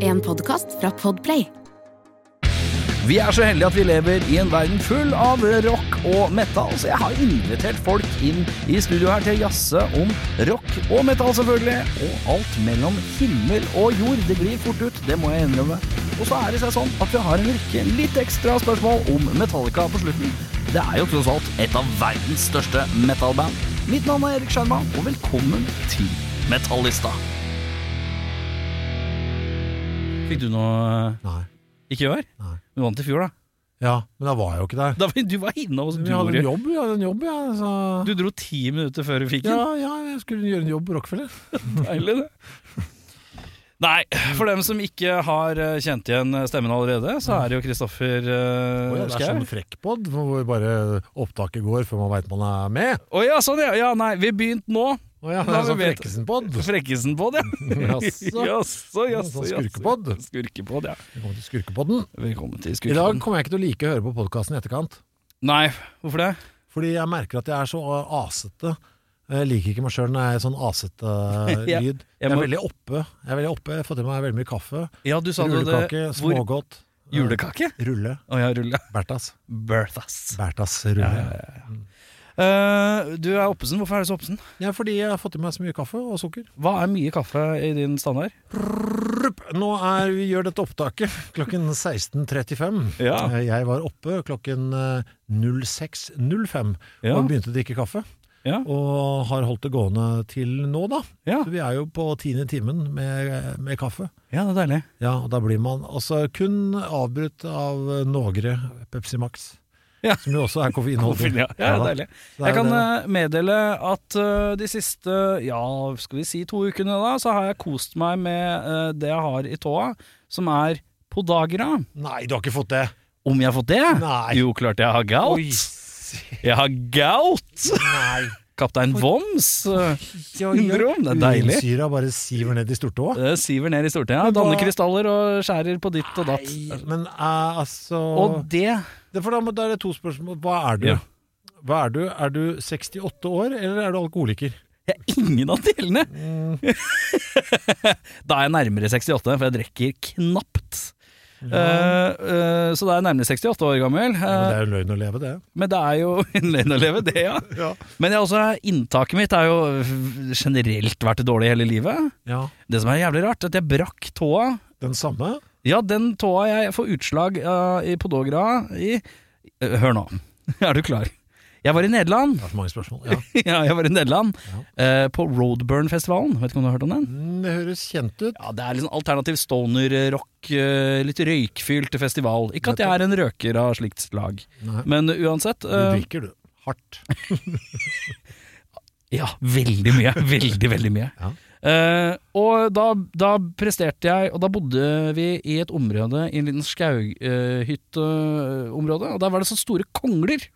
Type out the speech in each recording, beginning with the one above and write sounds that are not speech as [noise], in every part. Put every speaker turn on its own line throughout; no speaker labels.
En podkast fra Podplay.
Vi er så heldige at vi lever i en verden full av rock og metal, så jeg har invitert folk inn i studio her til å jazze om rock og metal, selvfølgelig. Og alt mellom himmel og jord. Det glir fort ut, det må jeg innrømme. Og så er det seg sånn at vi har en rekke litt ekstra spørsmål om Metallica på slutten. Det er jo tross alt et av verdens største metalband. Mitt navn er Erik Skjerma, og velkommen til Metallista. Fikk du noe eh,
Nei.
Ikke i år?
Nei.
Du vant i fjor, da.
Ja, men da var jeg jo ikke der.
[laughs] Da var, du var inne hos
Men jeg hadde en
Dori.
jobb, jeg hadde en jobb, ja, så...
Du dro ti minutter før du fikk
ja,
den.
ja, jeg skulle gjøre en jobb på Rockefeller.
Deilig, det. Nei, for dem som ikke har eh, kjent igjen stemmen allerede, så er det jo Kristoffer
Å
uh,
ja, det er
Schau.
sånn frekkpod, hvor bare opptaket går før man veit man er med.
Å ja, sånn ja. ja! Nei, vi begynte nå.
Å ja, det
Nei,
er
vi
sånn
vet-
Frekkesen-pod.
Frekkesen på det.
[laughs]
[laughs]
Jaså.
Jaså, jaså.
Sånn
jaså.
skurkepod.
Skurkepod, ja.
Velkommen til Skurkepodden.
Velkommen til
I dag
Skurkepodden.
kommer jeg ikke til å like å høre på podkasten i etterkant.
Nei, hvorfor det?
Fordi jeg merker at jeg er så asete. Jeg liker ikke meg sjøl når jeg er sånn asete
[laughs] Ja.
lyd.
Jeg
Jeg er
må-
veldig oppe. Jeg er veldig oppe, jeg får til meg veldig mye kaffe.
Ja, du sa du hadde
Rullekake,
hvor-
smågodt.
Julekake?
Eh, Rulle.
Å ja, rulle.
Bertas.
Berthas.
Bertas rulle.
Ja, ja, Eh, du er oppesen. Hvorfor er du så oppesen?
Ja, fordi jeg har fått i meg så mye kaffe og sukker.
Hva er mye kaffe i din standard?
Rupp! Nå er, vi gjør dette opptaket [laughs] klokken 16.35.
Ja.
Eh, Jeg var oppe klokken eh, 06.05
Ja.
og begynte å drikke kaffe.
Ja.
Og har holdt det gående til nå, da.
Ja,
Så vi er jo på tiende timen med, med kaffe.
ja det er deilig.
Ja, og da blir man altså kun avbrutt av eh, Någre Pepsi Max.
Ja.
Som jo også er koffeinholdig.
Ja, ja,
da.
deilig.
Så det
Jeg
er
kan
det.
eh, meddele at eh, de siste ja, skal vi si to ukene da, så har jeg kost meg med eh, det jeg har i tåa, som er Podagra.
Nei, du har ikke fått det!
Om jeg har fått det?
Nei.
Jo, klart jeg har gout. Jeg har gout!
Nei.
Kaptein eh, Voms. Syndrom, det er deilig.
Urinsyra bare siver ned i stortåa.
Det eh, siver ned i stortinget.
Men da-
Danner krystaller og skjærer på ditt og datt.
Nei, Men eh, altså
Og det
det, For da må- da er det to spørsmål. Hva er du?
Ja.
Hva er du? Er du 68 år, eller er du alkoholiker?
Jeg er ingen av delene! Mm. da er jeg nærmere 68, for jeg drikker knapt. Eh, eh, så da er jeg nærmere 68 år gammel. eh,
Men det er jo løgn å leve, det.
men det er jo [laughs] en løgn å leve, det, ja.
Ja.
Men jeg også, inntaket mitt er jo generelt vært dårlig hele livet. Det som er jævlig rart, er at jeg brakk tåa.
Den samme?
Ja, den tåa jeg får utslag eh, i podogra i Eh, Hør nå, [laughs] er du klar? Jeg var i Nederland. [laughs]
Det er for mange spørsmål. Ja.
ja, jeg var i Nederland eh, på Roadburn-festivalen. Vet ikke om du har hørt om den?
Mm, Det høres kjent ut.
Ja, det er liksom alternativ stoner-rock, eh, litt røykfylt festival. Ikke at jeg er en røker av slikt slag,
Nei.
men uansett
Du
eh,
drikker, du. Hardt.
Ja, veldig mye. Veldig, veldig mye.
Ja.
Eh, og da, da presterte jeg, og da bodde vi i et område, i en liten skauhytteområde, og der var det så store kongler.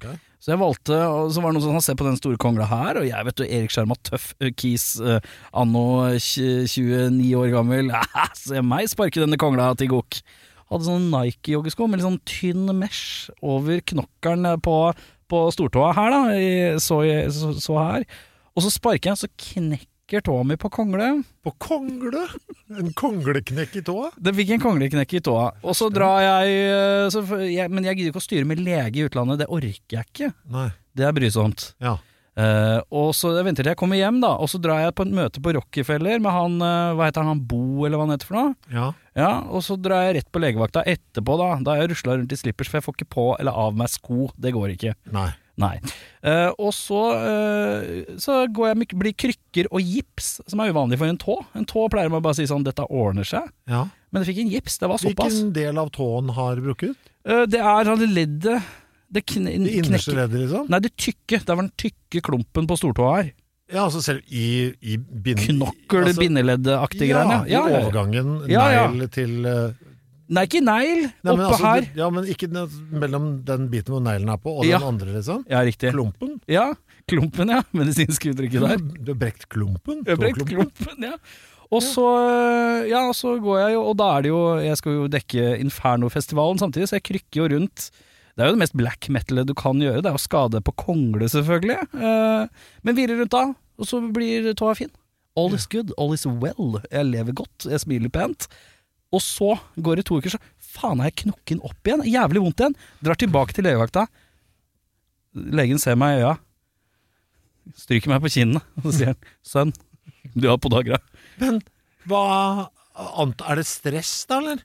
Ok.
Så jeg valgte, og så var det noen som sa se på den store kongla her, og jeg vet du, Erik Skjerma, tøff eh, kis, eh, anno tj- 29 år gammel, [laughs] se meg sparke denne kongla til gok. Hadde sånn Nike-joggesko med litt sånn tynn mesh over knokkeren eh, på, på stortåa her da, i, så, så, så her. Og så sparker jeg, så knekker tåa mi på kongle.
På kongle! En kongleknekk i tåa.
Det fikk en kongleknekk i tåa. Og så drar jeg, eh, så, f- jeg Men jeg gidder ikke å styre med lege i utlandet, det orker jeg ikke.
Nei.
Det er brysomt.
Ja.
Eh, og så jeg venter til jeg kommer hjem, da. Og så drar jeg på et møte på Rockefeller med han eh, Hva heter han, han Bo, eller hva han heter for noe?
ja.
Ja, Og så drar jeg rett på legevakta etterpå, da. Da har jeg rusla rundt i slippers, for jeg får ikke på eller av meg sko. Det går ikke.
Nei.
Nei. Eh, og så, eh, så går jeg med, blir krykker og gips, som er uvanlig for en tå. En tå pleier man bare å si sånn 'dette ordner seg',
Ja.
men jeg fikk en gips. Det var såpass.
Hvilken del av tåen har brukket?
Eh, det er sånn leddet Det kn
Det innerste
knekker
leddet, liksom?
Nei, det tykke. Det var den tykke klumpen på stortåa her.
Ja, altså selv i, i bind...
Knokkel,
altså-
bindeleddeaktige greiene.
Ja,
Ja, ja,
i
ja.
overgangen
Ja, ja.
negl til eh,
Nei, ikke negl.
nei, men
Oppe
altså,
her.
du- Ja, men ikke den- mellom den biten hvor neglen er på, og
Ja.
den andre, liksom.
Ja, riktig.
Klumpen.
Ja, Klumpen, ja. [laughs] Medisinske uttrykket der.
Du har brekt klumpen.
Øvrigt
Tåklumpen.
klumpen, ja. Og så, eh, ja, og så går jeg jo, og da er det jo Jeg skal jo dekke Inferno-festivalen samtidig, så jeg krykker jo rundt. Det er jo det mest black metalet du kan gjøre. Det er jo skade på kongle, selvfølgelig. Eh, Men hviler rundt da, og så blir tåa fin. All is good, all is well. Jeg lever godt, jeg smiler pent. Og så går det to uker, så faen er jeg knokken opp igjen. Jævlig vondt igjen. Drar tilbake til legevakta. Legen ser meg i øya. Stryker meg på kinnet. Og så sier han sønn, du har podagra.
Men hva ant- Er det stress, da, eller?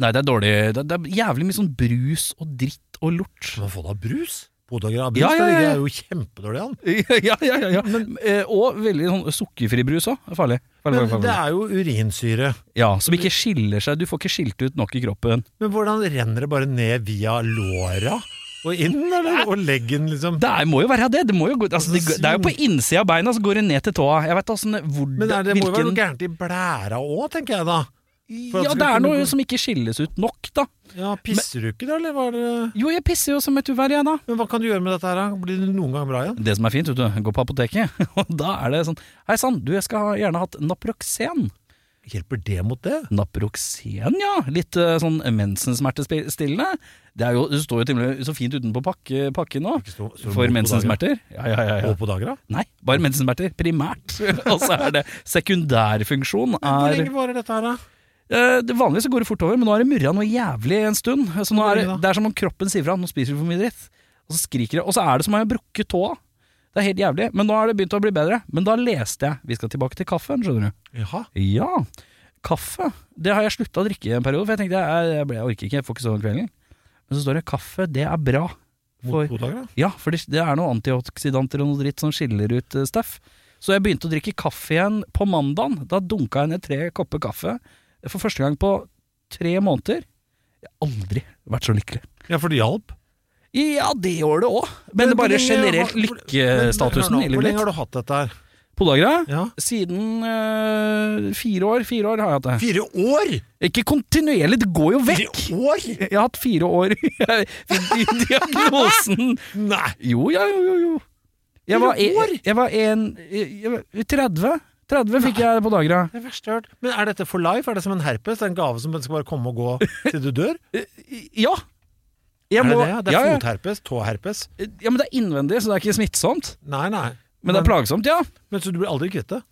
Nei, det er dårlig. Det er, det er jævlig mye sånn brus og dritt og lort.
Man får da brus? Podagra brus,
Ja, ja, ja,
det
ja.
er jo kjempedårlig an.
ja, ja, ja, ja. Eh, og veldig sånn sukkerfri brus òg. Farlig. Farlig, farlig,
Men
farlig.
det er jo urinsyre.
Ja, Som ikke skiller seg. Du får ikke skilt ut nok i kroppen.
Men hvordan renner det bare ned via låra og inn, eller? Og leggen, liksom?
Det er, må jo være det. Det, må jo gå, altså, det, det er jo på innsida av beina, så går det ned til tåa. Jeg vet altså, hvordan,
Men er det må jo være noe
hvilken-
gærent i blæra òg, tenker jeg da. for at
Ja,
det
det
skal
er
kunne
noe
gå-
som ikke skilles ut nok, da.
Ja, Pisser du ikke da, eller? Var det...
Jo, jeg pisser jo som et uvær, jeg, da.
Men hva kan du gjøre med dette her, da? Blir det noen gang bra igjen?
Det som er fint, vet du, gå på apoteket, [laughs] og da er det sånn Hei sann, du, jeg skal ha- gjerne ha hatt Naproxen.
Hjelper det mot det?
Naproxen, ja. Litt eh, sånn mensensmertestillende. Det er jo, det står jo til og med så fint utenpå pakke, pakken nå.
Ikke stå- stå
For
mot
mensensmerter. Ja, ja, ja, ja.
Og på dager, da?
Nei, bare mensensmerter. Primært. [laughs] Og så er det sekundærfunksjon
Hvor
er
lenge varer dette her, da?
Eh, det- Vanligvis så går det fort over, men nå er det murra noe jævlig en stund. Så nå er det, det er som om kroppen sier fra 'nå spiser vi for mye dritt', og så skriker det. Og så er det som om jeg har brukket tåa. Det er helt jævlig. Men nå har det begynt å bli bedre. Men da leste jeg Vi skal tilbake til kaffen, skjønner du.
Jaha.
Ja, kaffe. Det har jeg slutta å drikke i en periode, for jeg tenkte jeg, jeg, ble- jeg orker ikke, jeg får ikke sove om kvelden. Men så står det kaffe, det er bra. For-
Mot på dager, da?
Ja, for det, det er noen antioksidanter og noe dritt som skiller ut eh, Steff. Så jeg begynte å drikke kaffe igjen på mandagen. Da dunka jeg ned tre kopper kaffe for første gang på tre måneder. Jeg har aldri vært så lykkelig.
Ja, for det hjalp.
Ja, det gjør det òg, men,
hvor
bare
lenge
generelt
har- hvor-
lykkestatusen
Men
i
hør nå, Hvor
livet
lenge
mitt.
har du hatt dette her?
Podagra?
Ja.
Siden eh, fire år. Fire år har jeg hatt det.
Fire år?!
Ikke kontinuerlig, det går jo vekk!
Fire år?!
Jeg har hatt fire år [laughs] i diagnosen
Nei!
Jo, ja, jo, jo, jo. Jeg var,
Fire år?
jeg, jeg var en jeg, jeg, 30. 30 fikk jeg på Dagra.
Det er verste jeg har hørt. Men er dette for life? Er det som en herpes? Det er en gave som skal bare komme
[laughs]
og gå til du dør?
Ja. Jeg
er det
må-
det? ja? Det er
ja, ja.
fotherpes? Tåherpes?
ja, men det er innvendig, så det er ikke smittsomt.
Nei, nei.
Men det er plagsomt, ja.
Men så du blir aldri kvitt det?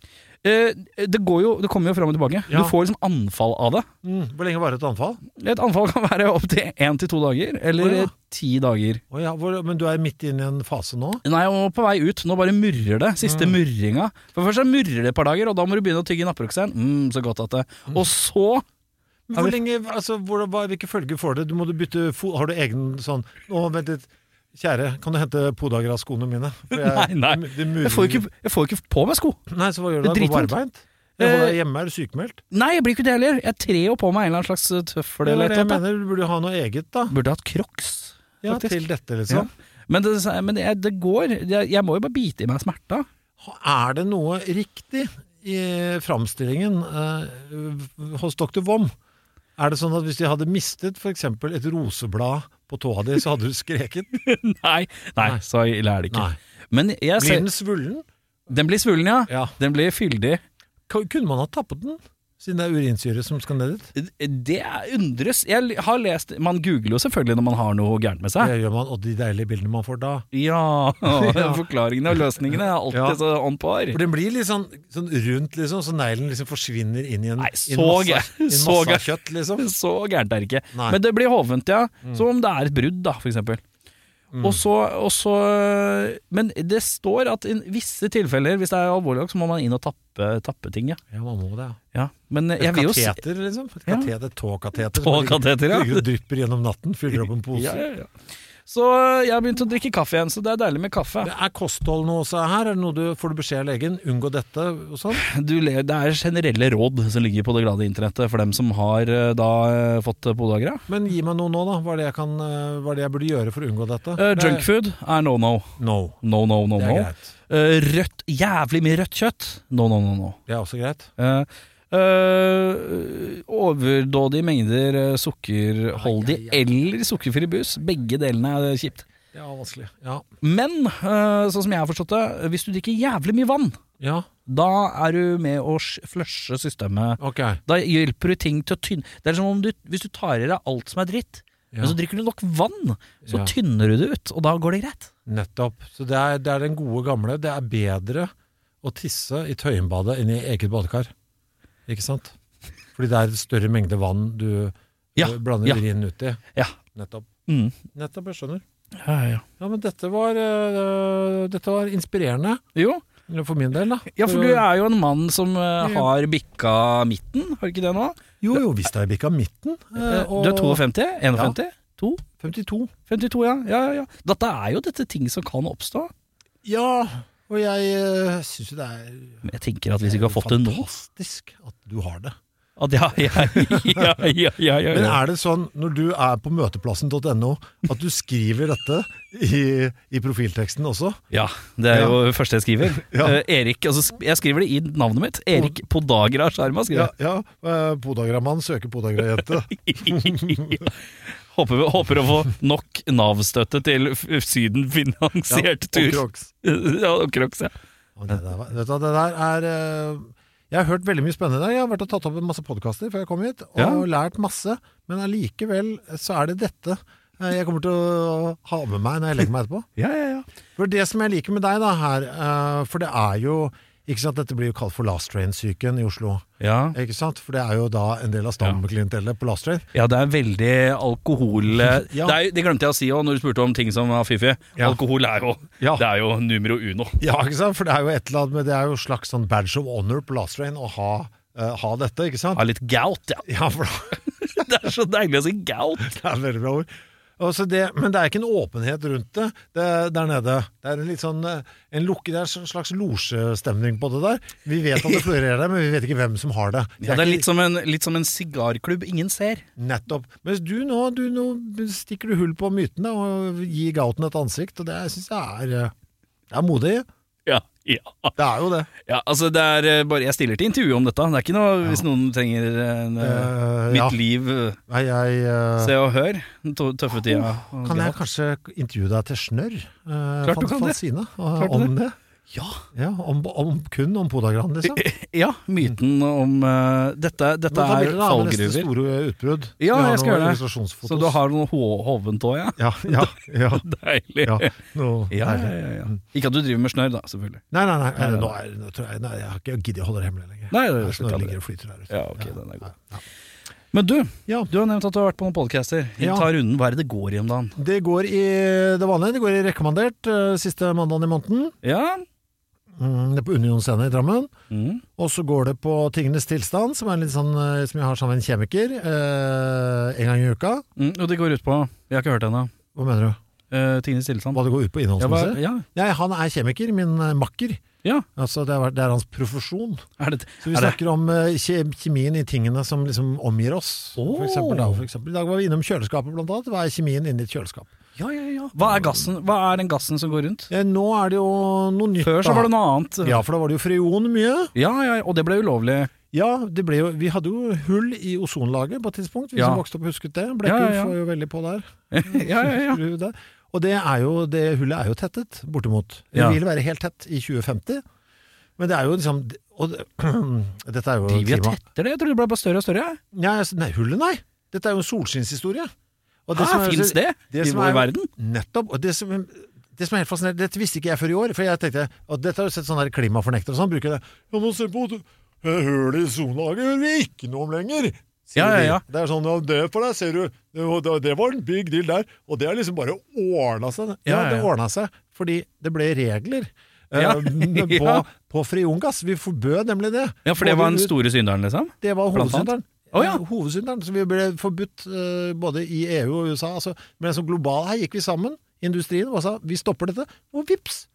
Eh, Det, går jo, det kommer jo fram og tilbake.
Ja.
Du får liksom anfall av det.
Mm. Hvor lenge varer et anfall?
Et anfall kan være opptil én til to dager, eller
Å, ja.
eh, ti dager.
Å ja, hvor, men du er midt inne i en fase nå?
Nei, og på vei ut. Nå bare murrer det. Siste murringa. For først så murrer det et par dager, og da må du begynne å tygge naproxen. Mm, så godt at det. Og så
Men
Ja,
Hvor
vi-
lenge, altså, hvor, hva, Hvilke følger får det? Du må du bytte fo Har du egen sånn Å, vent litt. Kjære, kan du hente Podagra-skoene mine? For jeg-
Nei, nei.
det murrer-
Jeg får jo ikke, jeg får jo ikke på meg sko.
Nei, så hva gjør du da?
Det er
Går
dritvondt.
barbeint? Jeg holder
Eh,
deg hjemme, er du sykemeldt?
Nei, jeg blir ikke det heller. Jeg trer jo på meg en eller annen slags eh, tøffel
Det er
eller
det jeg
et eller annet.
mener, du burde jo ha noe eget, da.
Burde hatt crocs.
Ja,
faktisk.
til dette, liksom.
Men, det, men det, det går. Jeg, jeg må jo bare bite i meg smerta. [laughs]
Er det noe riktig i framstillingen eh, hos dr. Vom? Er det sånn at hvis de hadde mistet f.eks. et roseblad på tåa di, så hadde du skreket?
Nei, nei,
Nei.
så ille er det ikke.
Nei.
Men jeg
Blir
ser,
den svullen?
den blir svullen, ja.
Ja.
Den blir fyldig.
K- Kunne man ha tappet den? Siden det er urinsyre som skal ned dit.
Det er- undres. Jeg har lest Man googler jo selvfølgelig når man har noe gærent med seg.
Det gjør man, og de deilige bildene man får da.
Ja,
[laughs]
[laughs]
Ja.
Forklaringene og løsningene er alltid
Ja.
så on par.
For den blir litt sånn, sånn rundt, liksom, så neglen liksom forsvinner inn i en,
Nei,
i en
så
masse,
gæ-
i en
så
masse
gæ-
kjøtt, liksom.
Så gærent er det ikke.
Nei. Mm.
Men det blir hovent, ja. Som om det er et brudd, da, for eksempel. Og så, og så Men det står at i visse tilfeller, hvis det er alvorlig nok, så må man inn og tappe, tappe ting, ja.
Ja, man må det, ja.
ja. Men
Et
jeg vil jo si
kateter, liksom. Et
Ja.
kateter, et tåkateter. som
[laughs] Tåkateter, ja.
ligger- Ligger og drypper gjennom natten, fyller opp en pose.
ja, ja, ja. Så jeg har begynt å drikke kaffe igjen, så det er deilig med kaffe.
Er kosthold noe også her? Er det noe du, får du beskjed av legen? Unngå dette og sånn?
Du, le- det er generelle råd som ligger på det glade internettet for dem som har eh, da eh, fått podagra.
Men gi meg noe nå, da. Hva er det jeg, kan, eh, hva er det jeg burde gjøre for å unngå dette?
Uh,
Det-
Junkfood er no no.
No.
No no no no.
Det er greit.
Eh, rødt, jævlig mye rødt kjøtt. No no no no.
Det er også greit.
Eh, eh, overdådige mengder eh, sukkerholdig
Ai, ai, ai.
eller sukkerfri brus. Begge delene er kjipt.
Ja, vanskelig. Ja.
Men eh, sånn som jeg har forstått det, hvis du drikker jævlig mye vann,
ja,
da er du med å sj- flushe systemet.
ok.
Da hjelper du ting til å tynne Det er som om du, hvis du tar i deg alt som er dritt,
Ja.
men så drikker du nok vann, så
Ja.
tynner du det ut, og da går det greit.
Nettopp. Så det er, det er den gode gamle. Det er bedre å tisse i Tøyenbadet enn i eget badekar. Ikke sant? Fordi det er større mengde vann du
Ja,
eh, blander
ja.
urinen ut i.
Ja.
Nettopp.
Mm.
Nettopp, jeg skjønner.
ja, ja.
Ja, men dette var, eh, dette var inspirerende.
Jo.
For min del, da.
Ja, for du er jo en mann som eh, har bikka midten, har du ikke det nå?
Jo, jo, visst har jeg bikka midten. eh,
Du er 52? 51? 2?
52.
52, ja. ja, ja, ja. Dette er jo dette ting som kan oppstå.
Ja, og jeg uh, syns jo det er
Men jeg tenker at hvis vi ikke har fått det nå
Fantastisk at du har det.
at ja, ja, ja, ja, ja, ja,
Men
ja.
er det sånn, når du er på møteplassen.no, at du skriver dette i, i profilteksten også?
ja, det er jo det første jeg skriver. [laughs]
Ja.
Eh, Erik, altså, sk- Jeg skriver det i navnet mitt. Erik Podagra Sharma. skriver
Ja,
jeg.
ja eh, Podagramann søker
[laughs]
Podagra-jente.
Håper, håper å få nok Nav-støtte til f- Syden-finansiert
og
tur. [laughs]
Crocs.
Ja, og Crocs. Ja.
Og Det der, var- vet du, hva, det der er eh, Jeg har hørt veldig mye spennende. Jeg har vært og tatt opp en masse podkaster før jeg kom hit, og
Ja.
lært masse. Men allikevel så er det dette eh, jeg kommer til å ha med meg når jeg legger meg etterpå.
Ja, ja, ja.
For det som jeg liker med deg da her, eh, for det er jo ikke sant, Dette blir jo kalt for Last Train-psyken i Oslo.
ja.
Ikke sant? For det er jo da en del av stamklientellet på Last Train.
Ja, det er veldig alkohol eh,
[laughs] Ja.
det, er, jo- det glemte jeg å si òg, når du spurte om ting som var fiffige.
Ja.
Alkohol er jo,
Ja.
det er jo numero uno.
Ja, ikke sant? For det er jo et eller annet med Det er jo et slags sånn badge of honor på Last Train å ha, eh, ha dette, ikke sant?
Av litt gout, ja. [laughs]
Ja, for [laughs] da-
Det er så deilig å si gout!
det er et veldig bra ord. Og så det, men det er ikke en åpenhet rundt det, det der nede. Det er en litt sånn eh, en lukke, det er en slags losjestemning på det der. Vi vet at det florerer der, men vi vet ikke hvem som har det.
Ja, det er
ikke-
litt som en, litt som en sigarklubb ingen ser.
Nettopp. Mens du nå, du nå stikker du hull på mytene og gir Gauten et ansikt, og det syns jeg er eh, Det er modig.
Ja, ja.
Det er jo det.
ja altså det er eh, bare Jeg stiller til intervju om dette. Det er ikke noe hvis noen trenger en, eh,
Eh,
mitt
ja.
liv. eh,
Nei, jeg eh,
Se og hør. Den tø- Tøffe tida. og
Kan jeg
gout.
kanskje intervjue deg til snørr? eh,
Klart du
Fan-
kan det.
Fanzine, eh,
Klart du
om det.
Ja.
Ja, om, om kun om podagran, liksom.
[laughs] ja, myten
Mm.
om eh, Dette,
Men
dette
ta
er
bilder da, med neste
fallgruver.
store utbrudd.
Ja,
Vi har
jeg skal
noen
gjøre det.
illustrasjonsfotos.
Så du har noe hå- hovent òg, ja? [laughs]
Ja, ja, ja.
Deilig.
ja, noe
Ja, ja,
deilig.
ja, ja. Ikke at du driver med snørr, da, selvfølgelig.
Nei, nei, nei, nei, nå er, nå tror jeg, nei jeg har ikke giddet å holde det hemmelig lenger.
Nei, det er
Nei,
slutt
Snørr
aldri.
ligger og flyter der ute.
Ja, ok, den er god.
Ja.
Men du,
Ja.
du har nevnt at du har vært på noen podcaster.
Ja.
Ta runden. Hva er det det går i om dagen?
Det går i det vanlige. Det går i rekommandert eh, siste mandagen i måneden.
Ja.
Mm, det er på Union Scene i Drammen.
Mm.
Og så går det på Tingenes tilstand, som er litt sånn eh, som jeg har sammen med en kjemiker. eh, en gang i uka.
Mm, og det går ut på Jeg har ikke hørt det ennå.
Hva mener du?
Uh, Tingenes tilstand.
Hva det går ut på
Ja, hva-
innholdsmessig?
ja.
Nei, han er kjemiker. Min eh, makker.
ja.
Altså, det, er, det er hans profesjon.
Er det,
Så vi
er det
snakker om eh, kje- kjemien i tingene som liksom omgir oss.
Åh.
For eksempel, da, for eksempel. I dag var vi innom kjøleskapet, blant annet. Hva er kjemien inni et kjøleskap?
ja, ja, ja. Hva er gassen? Hva er den gassen som går rundt?
Eh, nå er det jo noe nytt.
Før så
da.
var det noe annet.
Ja, for da var det jo freon mye.
ja, ja, og det ble ulovlig.
Ja, det ble jo, vi hadde jo hull i ozonlaget på et tidspunkt. Vi
Ja.
som vokste opp husket det.
Ja,
Blekkulf
ja, ja.
var jo veldig på der.
ja, ja, ja.
Tror du det? Og det, er jo, det hullet er jo tettet, bortimot. Det
Ja.
vil være helt tett i 2050. Men det er jo liksom og, det- [clears throat] Dette er jo
Driver jeg
klima...
tetter det? Jeg trodde det ble bare større og større. jeg.
Nei, altså, nei, hullet, nei! Dette er jo en solskinnshistorie. Og
Hæ,
som er-
Fins det,
det
i
som
vår
er-
verden?
Nettopp. Og det som, det som er helt fascinerende, dette visste ikke jeg før i år, for jeg tenkte og dette har jo sett sånne der klimafornektere og sånn, bruker det. Ja, nå se på det hullet i sonelaget hører vi ikke noe om lenger. sier
Ja, ja,
de.
ja.
Det er sånn, ja, det for deg, ser du. Det var- Det var en big deal der. Og det har liksom bare ordna seg.
Ja,
Ja,
ja, ja.
det ordna seg fordi det ble regler
[laughs]
eh,
Ja, ja.
på, på friongass. Vi forbød nemlig det.
Ja, for det var den
Både-
store synderen, liksom?
det var
Blant annet?
hovedsynderen.
Å, ja.
Eh, Hovedsynderen som vi ble forbudt eh, både i EU og USA. Altså, men som global her gikk vi sammen, industrien, og sa vi stopper dette. Og vips!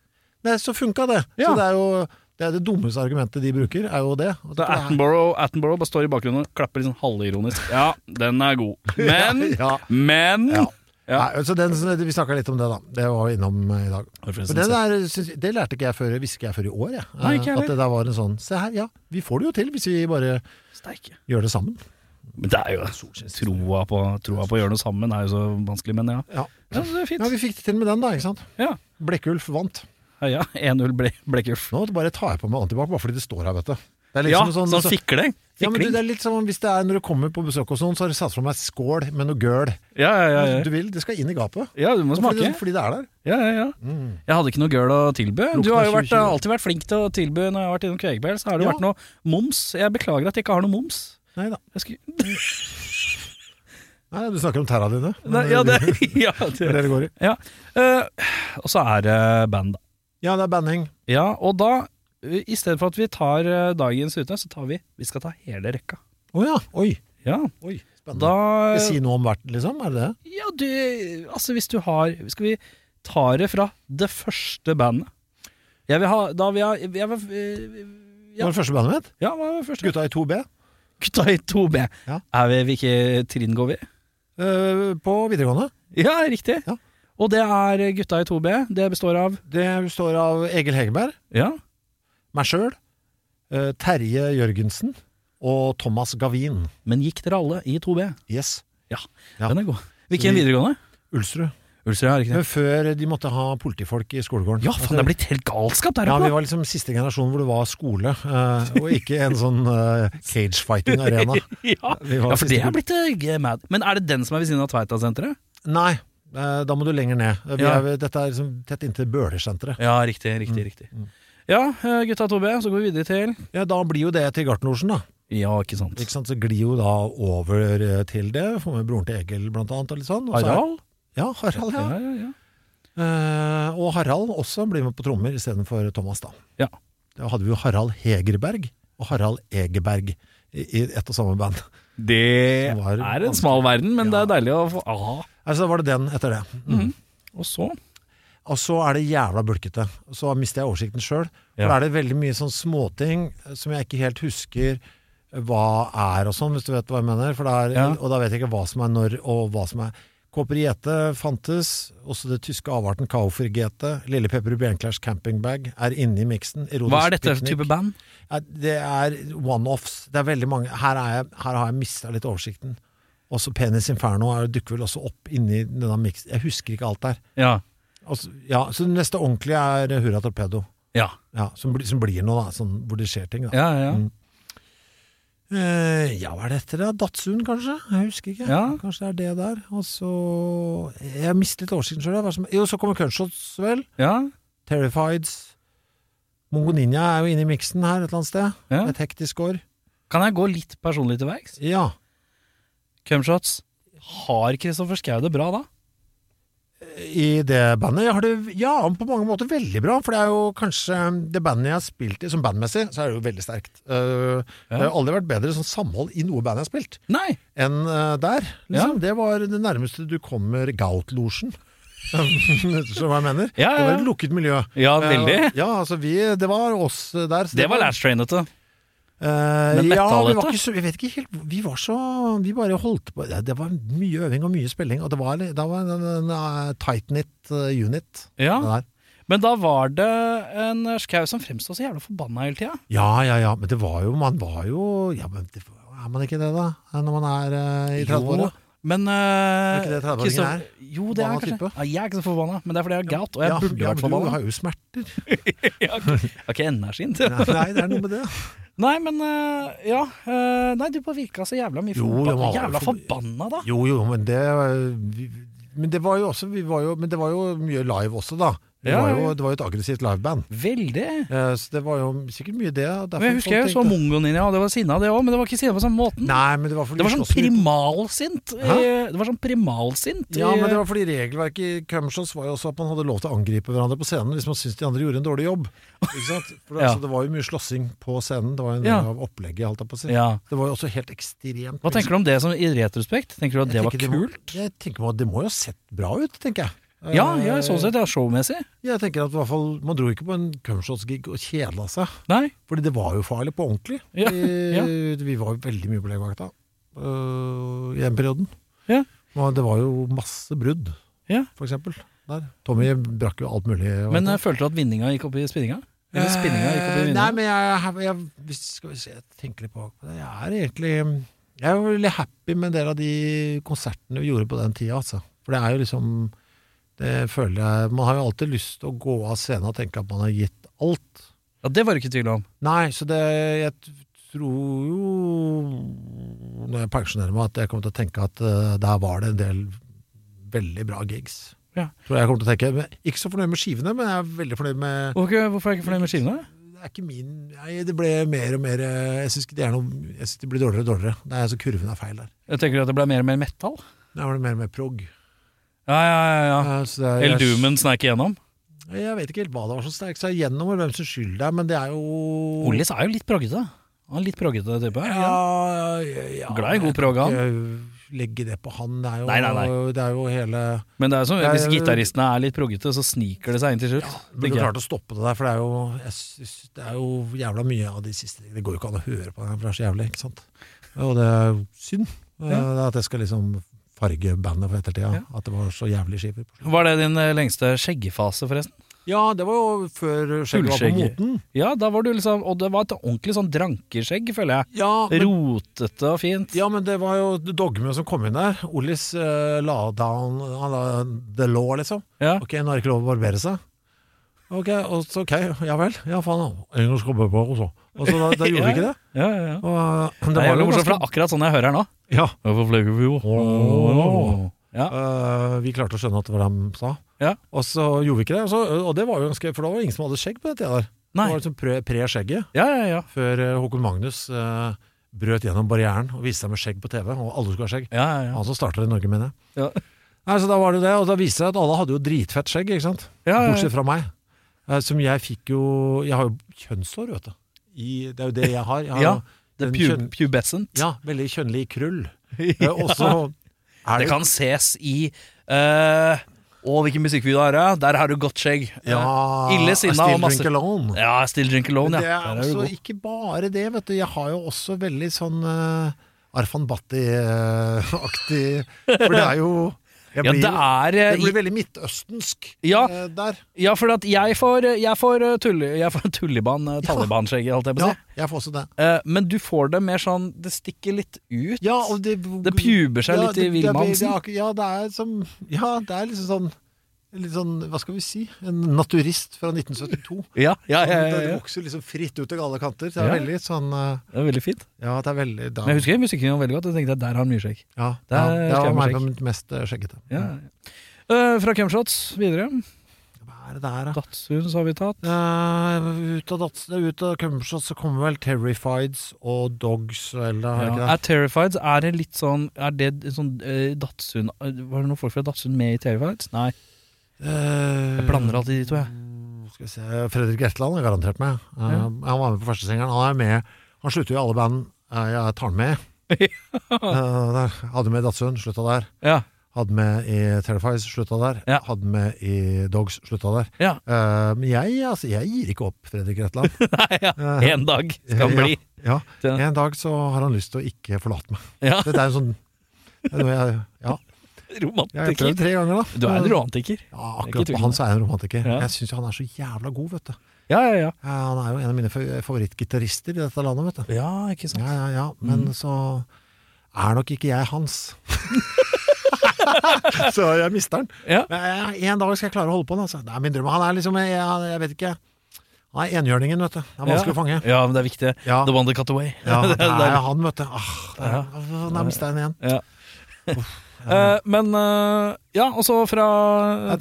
Nei, så funka det.
Ja.
Så det er jo det, er det dummeste argumentet de bruker, er jo det. Og
Da
dette er-
Attenborough, Attenborough bare står i bakgrunnen og klapper litt sånn halvironisk. Ja, den er [laughs] god. Men,
ja, ja.
men
Ja.
Ja.
Nei, altså den, vi snakka litt om det, da. Det var vi innom eh, i dag.
Hvorfor
Men
synes
det, der, syns- det lærte ikke jeg før, visste ikke jeg før i år. Jeg.
Nei, ikke
Eh,
heller.
At det der var en sånn Se her, ja. Vi får det jo til hvis vi bare
Steike.
gjør det sammen.
Men det er jo troa på, troa på å gjøre noe sammen er jo så vanskelig, men ja.
Ja.
Ja, det er
ja,
fint.
vi fikk det til med den, da. ikke sant?
Ja,
Blekkulf vant.
ja 1-0 ble, Blekkulf.
Nå måtte jeg bare ta jeg på meg antibac bare fordi det står her, vet du. Det er
Ja,
liksom
sånn,
sånn, så-
fikling.
ja, men du,
Fikling.
det er litt som om hvis det er når du kommer på besøk hos noen, så har du satt for meg skål med noe gøl.
Ja, ja, ja, ja.
Du vil, det skal inn i gapet.
ja, du må
Fordi, Mm.
smake.
fordi det er der.
Ja, ja, ja. Jeg hadde ikke noe gøl å tilby. Du har jo
av
vært,
2020.
alltid vært flink til å tilby når jeg har vært innom Kvegberg, så har det
Ja.
vært noe moms. Jeg beklager at jeg ikke har noe moms.
Nei da.
Jeg skulle...
Nei, du snakker om tærne dine. men
Nei, [laughs] ja, det, ja,
[laughs] det
det.
er det det går i.
Ja. Eh, og så er det band, da.
Ja, det er banning.
Ja, og da, eh, i stedet for at vi tar eh, dagens ute, så tar vi Vi skal ta hele rekka.
Å ja. Oi.
Ja,
Oi. Spennende.
da
Skal jeg si noe om hvert, liksom? Er det det?
Ja, du Altså, hvis du har Skal vi ta det fra det første bandet? Jeg vil ha Da vil jeg Jeg vil eh,
Det
Ja.
var det første bandet mitt.
Ja, hva var det første?
Gutta i Eh, 2B.
Gutta i 2B.
Ja.
Er vi hvilket trinn går vi?
eh, på videregående.
Ja, riktig.
Ja.
Og det er Gutta i 2B. Det består av
Det består av Egil Hegerberg,
Ja.
meg sjøl, eh, Terje Jørgensen og Thomas Gavin.
Men gikk dere alle i 2B?
Yes. Ja.
Den er god. Hvilken
Vi-
videregående?
Ulsrud.
Ulsrud, ja. Riktig.
Men før de måtte ha politifolk i skolegården. Altså,
Ja, faen, det er blitt helt galskap der
Ja, vi
oppe!
var liksom siste generasjon hvor det var skole, eh, og ikke en sånn
[laughs]
eh, cagefighting-arena.
Ja,
Vi
ja
var
for
siste
det er
gruppe.
blitt eh, mad. Men er det den som er ved siden av Tveita-senteret?
Nei, eh, da må du lenger ned. Vi
Ja.
er, ved- dette er liksom tett inntil Bøhlersenteret.
Ja, riktig, riktig, riktig. Ja, eh, Gutta i 2B, så går vi videre til
Ja, da blir jo det til Gartnerlosjen, da.
Ja, ikke sant.
Ikke sant? Så glir jo da over eh, til det. Får med broren til Egil, blant annet. Og litt sånn. Og så er-
Harald?
Ja, Harald, ja.
Ja, ja, ja.
Eh, og Harald også blir med på trommer istedenfor Thomas, da.
Ja.
Da hadde vi jo Harald Hegerberg og Harald Egerberg i, i ett og samme band.
Det
Som var
er en
vanskelig.
smal verden, men det
Ja.
er deilig å få Aha.
Altså, var det den etter det. Mm.
Og så
Og så er det jævla bulkete. Så mister jeg oversikten sjøl. For
Ja.
da er det veldig mye sånn småting eh, som jeg ikke helt husker hva er og sånn, hvis du vet hva jeg mener. For det er,
Ja.
Og da vet jeg ikke hva som er når, og hva som er Kåperiete fantes, også det tyske avarten Kaufrigete, Lille Pepper i Bjørnklers campingbag er inne i miksen. Erotisk
Hva er dette
piknik.
type band?
Ja, Det er one-offs. Det er veldig mange. Her, er jeg, her har jeg mista litt oversikten. Også Penis Inferno er- dukker vel også opp inni denne miksen. Jeg husker ikke alt der.
Ja.
Altså, ja, så det neste ordentlige er eh, Hurra Torpedo.
Ja,
Ja, som, blir- som blir noe, da. Sånn, hvor det skjer ting, da.
ja. ja.
Mm. Eh, ja, hva er det etter det? Datsun, kanskje? Jeg husker ikke.
Ja.
Kanskje det er det der. Og så Jeg mistet oversikten sjøl. Jo, så kommer Gunshots, vel.
ja.
Terrifieds. Mongo Ninja er jo inne i miksen her et eller annet sted.
Ja.
Et hektisk år.
Kan jeg gå litt personlig til verks?
Ja.
Cumshots. Har Kristoffer Schau det bra da?
i det bandet. Jeg har det ja, på mange måter veldig bra, for det er jo kanskje det bandet jeg har spilt i som bandmessig, så er det jo veldig sterkt. Uh, Det har aldri vært bedre sånn samhold i noe band jeg har spilt,
Nei!
enn uh, der. Liksom. Det var det nærmeste du kommer Gaut-losjen. [laughs] Som jeg mener.
Ja, ja,
Det
ja.
var et lukket miljø.
Ja, veldig.
Eh, ja, altså vi, det var oss der. så
Det var Last Train, vet du.
Eh,
Men
ja, vi
metallete?
var ikke så, jeg vet ikke helt Vi var så Vi bare holdt på Det det var mye øving og mye spilling, og det var, det var en, en, eh, tight knit eh, unit.
Ja.
det der.
Men da var det en Schau som fremstod så jævla forbanna hele tida.
Ja, ja, ja, men det var jo Man var jo Ja, men det, er man ikke det, da? Når man er eh, i 30-åra?
Men eh,
Er ikke det 30-åringen er?
Jo, det er
Forbanna
kanskje
type?
ja, Jeg er ikke så forbanna, men det er fordi jeg er gout, og jeg
ja,
burde vært
ja, men
[laughs]
du
forbanna.
har jo smerter.
Jeg har ikke- jeg har ikke energien til det.
[laughs] Nei, det er noe med det.
Nei, men eh, Ja. eh, Nei, du bare virka så jævla mye
Jo, jeg
forbanna.
var
Jævla
for-
forbanna, da.
Jo, jo, men det vi- Men det var jo også vi var jo, Men det var jo mye live også, da. Det,
Ja,
var,
ja,
jo,
ja.
det var jo et aggressivt liveband.
Veldig.
Eh, Så det var jo sikkert mye det. og derfor
Men jeg husker jeg
folk
så
tenkte-
Mongo Ninja, og det var sinna det òg, men det var ikke sinna på samme måten.
Nei, men det var fordi
Det var
vi
sånn
slåss mye.
primalsint. i-
Hæ?
Det var sånn primalsint. i-
Ja, men det var fordi regelverket i Cumshots var jo også at man hadde lov til å angripe hverandre på scenen hvis man syntes de andre gjorde en dårlig jobb. Ikke sant? For
[laughs] Ja.
altså, Det var jo mye slåssing på scenen. Det var jo en
Ja.
del av opplegget. Holdt jeg på å si.
Ja.
Det var jo også helt ekstremt.
Hva tenker du om det som i retrospekt? Tenker du at det var kult?
Jeg tenker meg at det må jo ha sett bra ut, tenker jeg.
Ja,
Eh,
ja, sånn sett. Ja, showmessig.
Jeg tenker at i hvert fall, Man dro ikke på en Cumshots-gig og kjeda seg.
Nei.
Fordi det var jo farlig på ordentlig.
Ja,
Eh,
ja.
Vi var jo veldig mye på legevakta eh, i den perioden.
Ja.
Og det var jo masse brudd,
Ja.
for eksempel. Der. Tommy brakk jo alt mulig. og
Men
alt.
eh, følte du at vinninga gikk opp i spinninga? Eller spinninga gikk opp i
Eh, Nei,
vinninga?
men jeg, jeg, hvis, skal vi se, jeg tenker litt på det. Jeg er egentlig Jeg er jo veldig happy med en del av de konsertene vi gjorde på den tida, altså. For det er jo liksom Det føler jeg Man har jo alltid lyst til å gå av scenen og tenke at man har gitt alt.
Ja, det var du ikke i tvil om.
Nei, så det Jeg tror jo, når jeg pensjonerer meg, at jeg kommer til å tenke at eh, der var det en del veldig bra gigs.
Ja.
Tror jeg jeg kommer til å tenke, men Ikke så fornøyd med skivene, men jeg er veldig fornøyd med
Hvorfor, hvorfor er jeg ikke fornøyd med skivene?
det er ikke min, nei, det ble mer og mer eh, Jeg syns ikke det er noe Jeg synes det blir dårligere og dårligere. Det er altså kurven er feil der.
Jeg tenker at det ble mer og mer metal.
Der var det mer og mer prog.
Ja, ja, ja, ja.
Eh, så det er-
El Dumen snek igjennom.
Jeg, jeg vet ikke helt hva det var som sterk seg gjennom, og hvem som skyld det er, men det er jo
Ollis er jo litt proggete. Han er litt proggete type. er han ikke?
Ja, ja, ja,
Glad i god prog, han.
Jeg legger det på han. Det er jo,
Nei, nei, nei.
Det er jo hele
Men det er jo som, hvis
Jeg-
gitaristene er litt proggete, så sniker det seg inn til slutt.
Burde
tenker jeg.
klart å stoppe det der, for det er jo, jeg synes- det er jo jævla mye av de siste Det går jo ikke an å høre på den her, for det er så jævlig, ikke sant? Og det er jo synd eh, at jeg skal liksom farge bandet for ettertida. At det var så jævlig skiver.
Var det din eh, lengste skjeggefase, forresten?
Ja, det var jo før skjegget var på
Fullskjegg.
moten.
Ja, da var du liksom Og det var et ordentlig sånn drankeskjegg, føler jeg.
Ja, men
Rotete og fint.
Ja, men det var jo dogme som kom inn der. Ollis eh, la down Han la the law, liksom.
Ja.
Ok, nå er det ikke lov å barbere seg. Ok, og så, ok, ja vel. Ja, faen. En gang skal jeg barbere også. Og så da, da gjorde vi ikke det.
[laughs] Ja, ja, ja.
Og, eh,
Det
det
var
var
jo
jo
morsomt, for det
ganske
er akkurat sånn jeg hører her nå.
Ja.
Hvorfor fløy vi
Åh.
Ja.
eh, vi klarte å skjønne at det var det de sa.
Ja.
Og så gjorde vi ikke det. Og, så, og det var jo ganske For da var det ingen som hadde skjegg på den tida der.
Nei.
Det var liksom pre- pre-skjegget.
Ja, ja, ja.
før eh, Håkon Magnus eh, brøt gjennom barrieren og viste seg med skjegg på TV, og alle skulle ha skjegg.
ja, ja, ja.
Han som starta i Norge, mener jeg.
Ja.
Nei, så da var det det, og da viste det seg at alle hadde jo dritfett skjegg, ikke sant?
Ja, ja, ja.
Bortsett fra meg. Eh, Som jeg fikk jo Jeg har jo kjønnshår, vet du. I, det er jo det jeg har. Jeg har
Ja,
jo
Det
den
er
kjønn-
pubescent.
ja, veldig kjønnlig
[laughs]
krull. Eh, Og så er
Det
det,
kan ses i eh, Å, hvilken musikkvideo er det? Der har du godt skjegg.
ja,
Eh, Ille sinna og masse
Still drink alone.
Ja, Still Drink Alone,
Men
ja. Der
Det er
du
også
god.
ikke bare det, vet du. Jeg har jo også veldig sånn eh, Arfan Bhatti-aktig For det er jo jeg
Ja,
blir,
det er eh,
jeg blir veldig midtøstensk
Ja.
eh, der.
i- Ja, for at jeg får, jeg får, eh, tulle, jeg får [laughs] tulliban, eh, Taliban-skjegget, holdt jeg på å
Ja,
si.
jeg får også det.
Eh, men du får det mer sånn Det stikker litt ut.
Ja, og det,
Det puber seg litt i
det- det er-
Wilhelmsen.
det er akkur- Ja, det er som Ja, det er liksom sånn Litt sånn, hva skal vi si, en naturist fra 1972.
Ja, [laughs] ja, ja, ja,
Det
ja.
vokser liksom fritt ut til alle kanter. Det er
Ja.
veldig sånn eh,
Det er veldig fint.
Ja, det er veldig da,
Men jeg husker musikkvideoen veldig godt. Jeg tenkte at der har han mye skjegg.
ja,
det er-
ja, det
skal jeg
var meg
med
på mitt mest eh, skjeggete.
Ja. Eh, fra Cumshots videre.
Hva er det der, da?
Datsun har vi tatt.
Eh, ut av Dats- nei, ut av Cumbershot så kommer vel Terrifieds og Dogs eller har jeg
Ja.
ikke det?
Er Terrified er det litt sånn Er det en sånn eh, Datsun Var det noen folk fra Datsun med i Terrified? Nei.
Eh,
Jeg blander alltid de to, jeg.
Mm, Skal vi se Fredrik Gertland er garantert med. Eh, Han var med på førstesingeren. Han er med Han slutter jo i alle band eh, jeg tar han
[laughs]
med. Eh, der. Hadde med i Datsun, slutta der. [laughs]
Ja.
Hadde med i Terrifies, slutta der.
Ja.
Hadde med i Dogs, slutta der.
ja.
Eh, men jeg, altså, jeg gir ikke opp, Fredrik Retland.
[laughs] Nei, ja. En dag skal han bli.
Ja, ja.
Ja.
En dag så har han lyst til å ikke forlate meg.
[laughs] Ja.
Det, det er en sånn det er noe jeg, Ja, jeg har
[laughs]
prøvd
Romantiker.
tre ganger, da.
Du er en romantiker.
Ja,
Det er ikke
akkurat
tvil
på
om
han så er jeg en romantiker.
Ja.
Jeg syns han er så jævla god, vet du.
Ja, ja, ja.
Ja, Han er jo en av mine fa- favorittgitarister i dette landet, vet du.
Ja, ikke sant.
Ja, ja, ja.
Mm.
Men så er nok ikke jeg hans. [laughs] så jeg mister han.
Ja.
Men jeg- En dag skal jeg klare å holde på han. Altså. Det er min drøm. Han er liksom jeg, jeg vet ikke Han er enhjørningen, vet du. Det er vanskelig å fange.
Ja, men det er viktig.
Ja.
The one that cut away.
Ja,
[laughs] Det
det
er-
er jo han, vet du. Ah, der,
Ja.
der mista jeg den igjen.
Ja. Eh, men eh, Ja, og så
Ja,
fra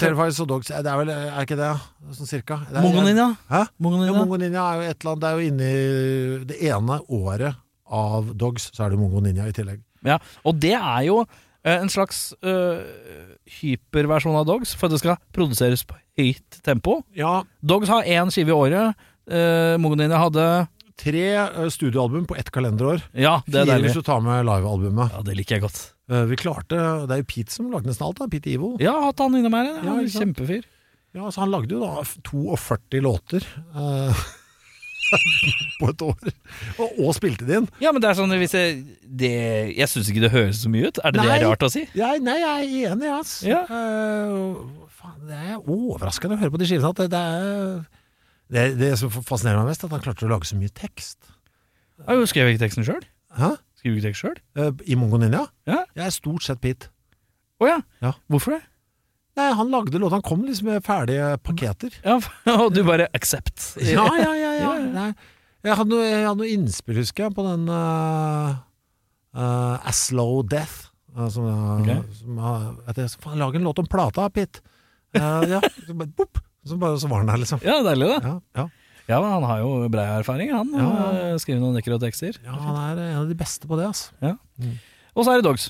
Terrifies og Dogs, det er vel er ikke det? Sånn cirka? Det er-
Mongo Ninja.
Hæ?
Mongo
Ja,
Ninja.
Mongo Ninja er jo et eller annet Det er jo inni det ene året av Dogs, så er det Mongo Ninja i tillegg.
Ja, og det er jo eh, en slags eh, hyperversjon av Dogs, for at det skal produseres på høyt tempo.
Ja,
Dogs har én skive i året. Uh, Mogonini hadde
tre eh, studioalbum på ett kalenderår.
Ja, det er
Fire hvis
deilig.
du tar med livealbumet.
Ja, det liker jeg godt.
Eh, Vi klarte Det er jo Pete som lagde nesten alt, da. Pete Evil.
Ja, hatt han innom her. Ja,
Ja, ikke sant.
kjempefyr.
Ja, så han lagde jo da f- 42 låter. eh, [laughs] på et år. Og, og spilte det inn.
Ja, men det er sånn hvis jeg det, Jeg syns ikke det høres så mye ut. Er det det
Nei.
er rart å si?
Jeg, nei, jeg er enig, ass.
Ja.
Eh, faen, det er overraskende å høre på de skivene. At det, det, er, det, det som fascinerer meg mest, er at han klarte å lage så mye tekst.
Ja, jo, skrev jeg ikke teksten sjøl?
Hæ?
Skriver du ikke tekst sjøl?
Eh, I Mongo Ninja?
Ja.
Jeg er stort sett Pete.
Å ja.
Ja.
Hvorfor det?
Nei, han lagde låter. Han kom liksom med ferdige paketer.
[laughs] Ja, Og du bare accept. [laughs]
[laughs] Ja, ja, ja. ja.
Ja, ja.
Nei. Jeg hadde noe, jeg hadde noe innspill, husker jeg, på den uh, uh, A Slow Death. Uh, som, uh,
Ok.
som, uh, at jeg sa, faen, lag en låt om plata, Pitt. Uh, ja, så bare, boop, så, bare, så var den der, liksom.
Ja, deilig, det.
Ja, ja.
Ja, men Han har jo brei erfaring, han.
Ja.
eh, Skriver noen nøkker og tekster.
ja, han er en av de beste på det, altså.
Og så er det Dogs.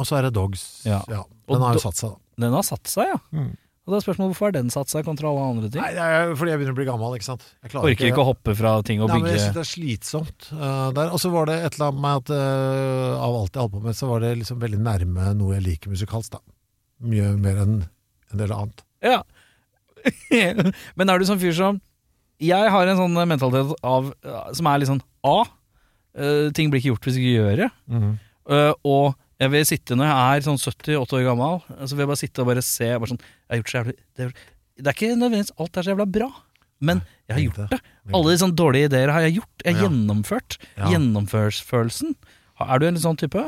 Og så er det Dogs.
Ja. Og
Den har
do-
jo satt seg, da.
Den har satt seg, ja.
Mm.
Og da er spørsmålet hvorfor har den satt seg kontra alle andre ting?
Nei, det er fordi jeg begynner å bli gammel, ikke sant. Jeg klarer
Orker ikke å hoppe fra ting og
Nei, men
bygge
jeg synes det er slitsomt eh, der. Og så var det et eller annet med at eh, av alt jeg holdt på med, så var det liksom veldig nærme noe jeg liker musikalsk, da. Mye mer enn en del annet.
Ja. [laughs] Men er du sånn fyr som Jeg har en sånn mentalitet av som er litt sånn A. eh, ting blir ikke gjort hvis ikke gjør det. Eh, og jeg vil sitte når jeg er sånn 70-80 år gammel, eh, så vil jeg bare sitte og bare se bare sånn, Jeg har gjort så jævlig det er, det er ikke nødvendigvis alt er så jævla bra, men jeg har gjort det. Alle de sånne dårlige ideer har jeg gjort. Jeg har
Ja.
gjennomført.
Ja.
Gjennomførsfølelsen. Er du en sånn type?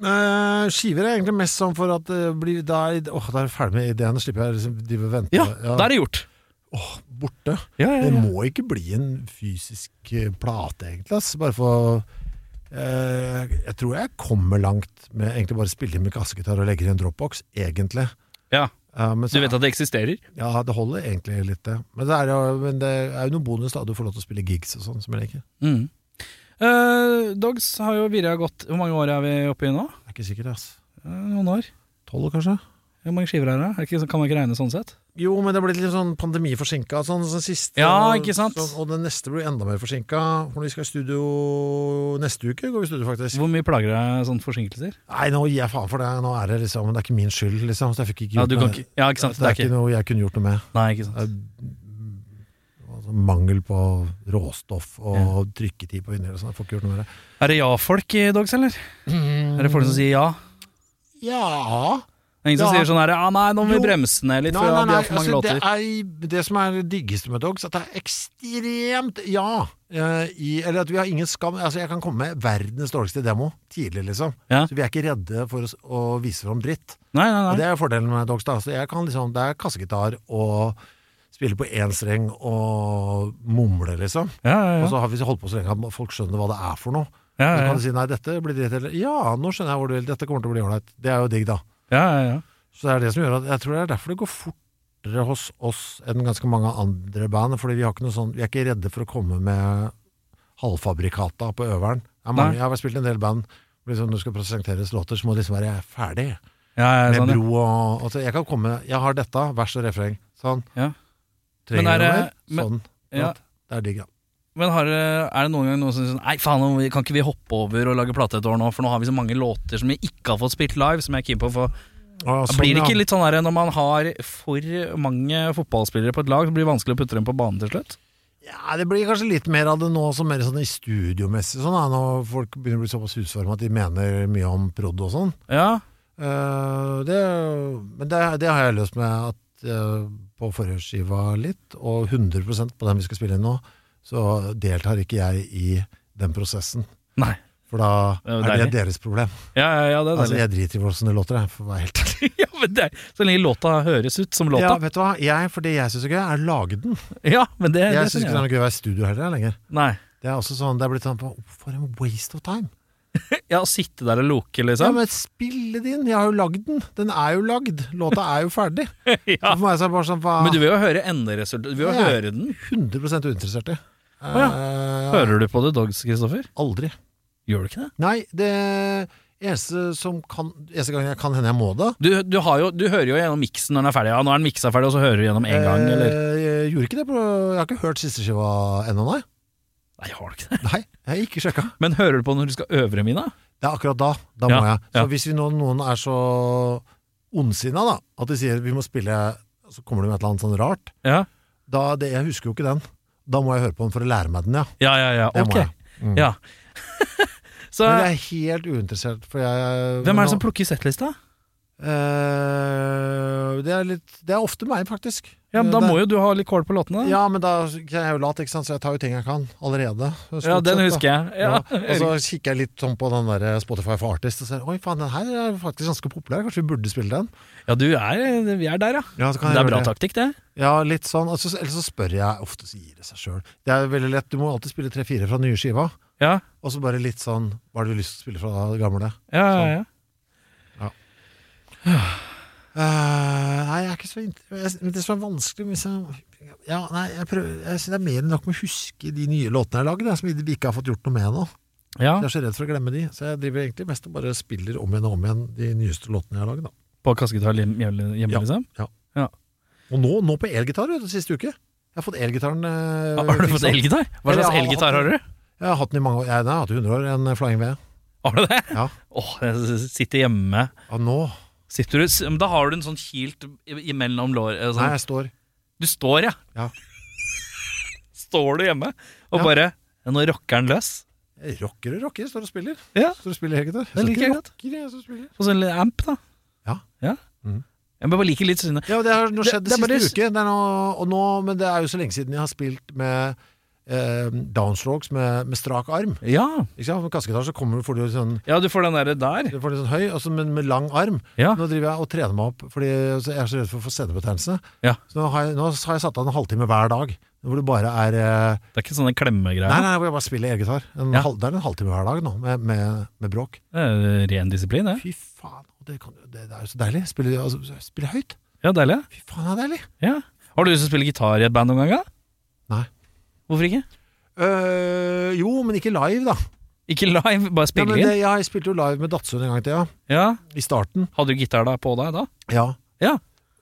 Eh, skiver er egentlig mest sånn for at det blir Da er åh, da er jeg ferdig med ideene, slipper jeg liksom de vil vente.
Ja, da er det gjort.
Åh, borte.
Ja, ja,
Det
ja.
må ikke bli en fysisk eh, plate, egentlig. Ass. Bare for eh, Jeg tror jeg kommer langt med egentlig bare å spille inn med kassegitar og legge det i en dropbox, egentlig.
ja.
Eh, men
Du
så-
vet at det eksisterer?
Ja, det holder egentlig litt, det. Men det er jo, men det er jo noen bonus, da. Du får lov til å spille gigs og sånn, som jeg liker.
Mm. Eh, Dogs har jo virra godt. Hvor mange år er vi oppe i nå?
Jeg er ikke sikker, ass.
Eh, noen år.
Tolv, kanskje?
Hvor mange skiver er det? Er det? Ikke, kan man ikke regne sånn sett?
Jo, men det har blitt litt sånn pandemiforsinka. Sånn, sånn siste
Ja, ikke sant?
Sånn, og den neste blir enda mer forsinka. For vi skal i studio neste uke, går vi i studio, faktisk.
Hvor mye plager deg sånne forsinkelser?
Nei, nå gir jeg faen for det. Nå er det liksom Det er ikke min skyld, liksom. Så jeg fikk ikke
Ja,
gjort
du kan
noe.
ikke, ja, ikke sant.
Det er ikke noe jeg kunne gjort noe med.
Nei, ikke sant.
Altså, mangel på råstoff og trykketid på vinyl og sånn. Jeg får ikke gjort noe med det.
Er det ja-folk i Dogs, eller? Er det folk som sier ja?
Ja
Det er ingen som
Ja.
sier sånn her Ja, nei, nå må vi
Jo.
bremse ned litt, for vi har for mange
altså,
låter.
Det, er, det som er det diggeste med Dogs, at det er ekstremt ja. eh, i, eller at vi har ingen skam. Altså, jeg kan komme med verdens dårligste demo tidlig, liksom.
Ja.
Så vi er ikke redde for å, s- å vise fram dritt.
Nei, nei,
Og
nei.
det er fordelen med Dogs. da. Så jeg kan liksom, Det er kassegitar og spille på én streng og mumle, liksom.
Ja, ja, ja.
Og så har vi holdt på så lenge at folk skjønner hva det er for noe.
ja,
Så
ja,
kan
ja.
du si nei, dette blir dritt, eller ja, nå skjønner jeg hvor du vil, dette kommer til å bli ålreit. Det er jo digg, da.
ja, ja, ja.
Så det er det som gjør at jeg tror det er derfor det går fortere hos oss enn ganske mange andre band. Fordi vi, har ikke noe sånn, vi er ikke redde for å komme med halvfabrikata på øveren. Det er
Nei.
mange, jeg har spilt en del band hvor liksom, når det skal presenteres låter, så må det liksom være ferdig.
ja, ja,
Med
sånn, ja.
bro og altså, Jeg kan komme Jeg har dette, vers og refreng. Sånn.
Ja. Men
Trenger
er
du noe
det-
mer? Sånn.
ja.
Det er digg, ja.
Men har, det- er det noen gang noen som sier sånn Nei, faen, nå kan ikke vi hoppe over og lage plate et år nå, for nå har vi så mange låter som vi ikke har fått spilt live, som jeg er keen på å få
Og sånn,
Blir det
ja.
ikke litt sånn her når man har for mange fotballspillere på et lag, så blir det vanskelig å putte dem på banen til slutt?
Ja, Det blir kanskje litt mer av det nå, som mer sånn i studiomessig. Sånn, da, når folk begynner å bli såpass husvarme at de mener mye om prod og sånn.
Ja,
Eh, det, men det, det har jeg løst med at eh, på forrige skiva litt, og 100 på den vi skal spille inn nå, så deltar ikke jeg i den prosessen.
Nei.
For da
Det er jo
er det
deilig.
deres problem.
ja, ja, ja det er
Altså,
deilig. [laughs]
jeg driter i hvordan det låter, jeg, for å være helt ærlig.
ja, men det, er- så lenge låta høres ut som
Ja,
låta.
vet du hva? Jeg, for det jeg syns er gøy, er å lage den.
Ja, men det, det
Jeg syns
synes
ikke
jeg.
det er noe gøy å være i studio heller lenger.
Nei.
Det er også sånn, det er blitt sånn For en waste of time.
Ja, å sitte der og loke,
Ja,
liksom.
men spille det inn! Jeg har jo lagd den. Den er jo lagd. Låta er jo ferdig.
[laughs] Ja, men,
Så for meg så er det bare sånn hva-
du vil jo høre enderesultatet. Du vil jo
Ja.
høre den.
100 uinteressert i.
Å ja.
Eh,
Hører du på The Dogs, Kristoffer?
Aldri.
Gjør du ikke det?
Nei, det eneste som kan Eneste gang jeg kan hende jeg må det
Du, du, har jo, du hører jo gjennom miksen når den er ferdig. Ja, nå er den miksa ferdig, og så hører du gjennom én gang,
Eh,
eller
Jeg gjorde ikke det. På, jeg har ikke hørt siste skiva ennå, nei.
Nei, har du ikke det?
Nei, jeg har ikke sjekka.
Men hører du på når du skal øvre mine?
Det er akkurat da. Da
Ja,
må jeg. Så
ja.
hvis vi nå, noen er så ondsinna, da, at de sier vi må spille Så kommer de med et eller annet sånn rart.
Ja,
Da, det, jeg husker jo ikke den. Da må jeg høre på den for å lære meg den, ja.
ja, ja. ja.
Det må
Ok.
jeg. Mm.
Ja. [laughs] så
Men jeg er helt uinteressert, for jeg
hvem er
men
det som
nå-
plukker settlista?
Eh, det, er litt, det er ofte meg, faktisk. Eh,
Ja, men Da
Det-
må jo du ha litt kål på låtene.
Ja, men da jeg er jo lat, ikke sant? så jeg tar jo ting jeg kan allerede. stort
Ja, den
sett, da.
husker jeg.
Ja,
[laughs]
altså-
Ja,
og så kikker jeg litt sånn på den der Spotify for Artist og ser Oi, faen, den her er faktisk ganske populær. Kanskje vi burde spille den?
ja du er, vi er der, ja.
Ja, så kan
Det
jeg
er bra
gjøre
taktikk, det.
Ja, litt sånn. Altså, så- ellers så spør jeg ofte, så gir det seg sjøl. Det er veldig lett. Du må alltid spille tre-fire fra nye skiva.
Ja,
Og så bare litt sånn Hva har du lyst til å spille fra det gamle?
ja, ja,
Sånn.
ja.
Eh, nei, jeg er ikke så int- jeg- men Det som er vanskelig hvis jeg, ja, nei, jeg, prøver, jeg synes det er mer enn nok med å huske de nye låtene jeg har lagd, jeg, som vi ikke har fått gjort noe med ennå.
ja.
Jeg er så redd for å glemme de, så jeg driver egentlig mest og bare spiller om igjen og om igjen de nyeste låtene jeg har lagd. da.
På kassegitar hjem- hjemme, hjemme
Ja.
liksom?
Og nå, nå på elgitar, vet du, siste uke. Jeg har fått elgitaren eh,
Har du
fiksa.
fått elgitar? Hva
Eller jeg
slags
har
elgitar
hatt
har du?
Jeg har hatt den i mange år. Jeg, nei, jeg har hatt den i 100 år, en Flying V.
Har du det?
Ja.
Åh, jeg sitter hjemme
Ja, nå
Sitter du, s- men Da har du en sånn kilt i- imellom lår eh,
Nei,
sånn.
jeg står.
Du står, ja.
Ja.
[laughs] Står du hjemme og
Ja.
bare Nå rocker den løs.
Jeg rocker og rocker, står og spiller.
Ja.
Står og spiller elgitar.
Det liker jeg godt.
Rocker, jeg står og spiller.
Og så en liten sånn amp, da.
Ja. Mhm.
Jeg bare liker litt synd.
Ja, og det har nå
Det-
skjedd det,
det er bare-
siste uke. Det er nå, og nå, men det er jo så lenge siden jeg har spilt med eh, downstrokes med, med strak arm.
Ja.
Ikke sant? Med kassegitar så kommer du, får du jo sånn
ja, du får den derre der.
du får litt sånn høy, og så med, med lang arm.
Ja.
Nå driver jeg og trener meg opp, Fordi jeg er så redd for å få senebetennelse.
Ja.
Så nå har, jeg, nå har jeg satt av en halvtime hver dag, hvor det bare er eh,
Det er ikke sånne
Nei,
klemmegreier.
nei, hvor jeg bare spiller elgitar. En
Ja.
halv- Det er en halvtime hver dag nå, med, med, med bråk.
Det er Ren disiplin, det.
Fy faen, og det, kan, det, det er jo så deilig. Spille, altså, spille høyt.
Ja, deilig.
Fy faen, det er deilig.
Ja. Har du lyst til å spille gitar i et band noen gang? da?
Nei.
Hvorfor ikke?
Øh, jo, men ikke live, da.
Ikke live, bare
Ja,
spille
men
inn?
det, jeg spilte jo live med Datsun en gang i tida.
Ja.
I starten.
Hadde du gitar da på deg da?
Ja.
Ja.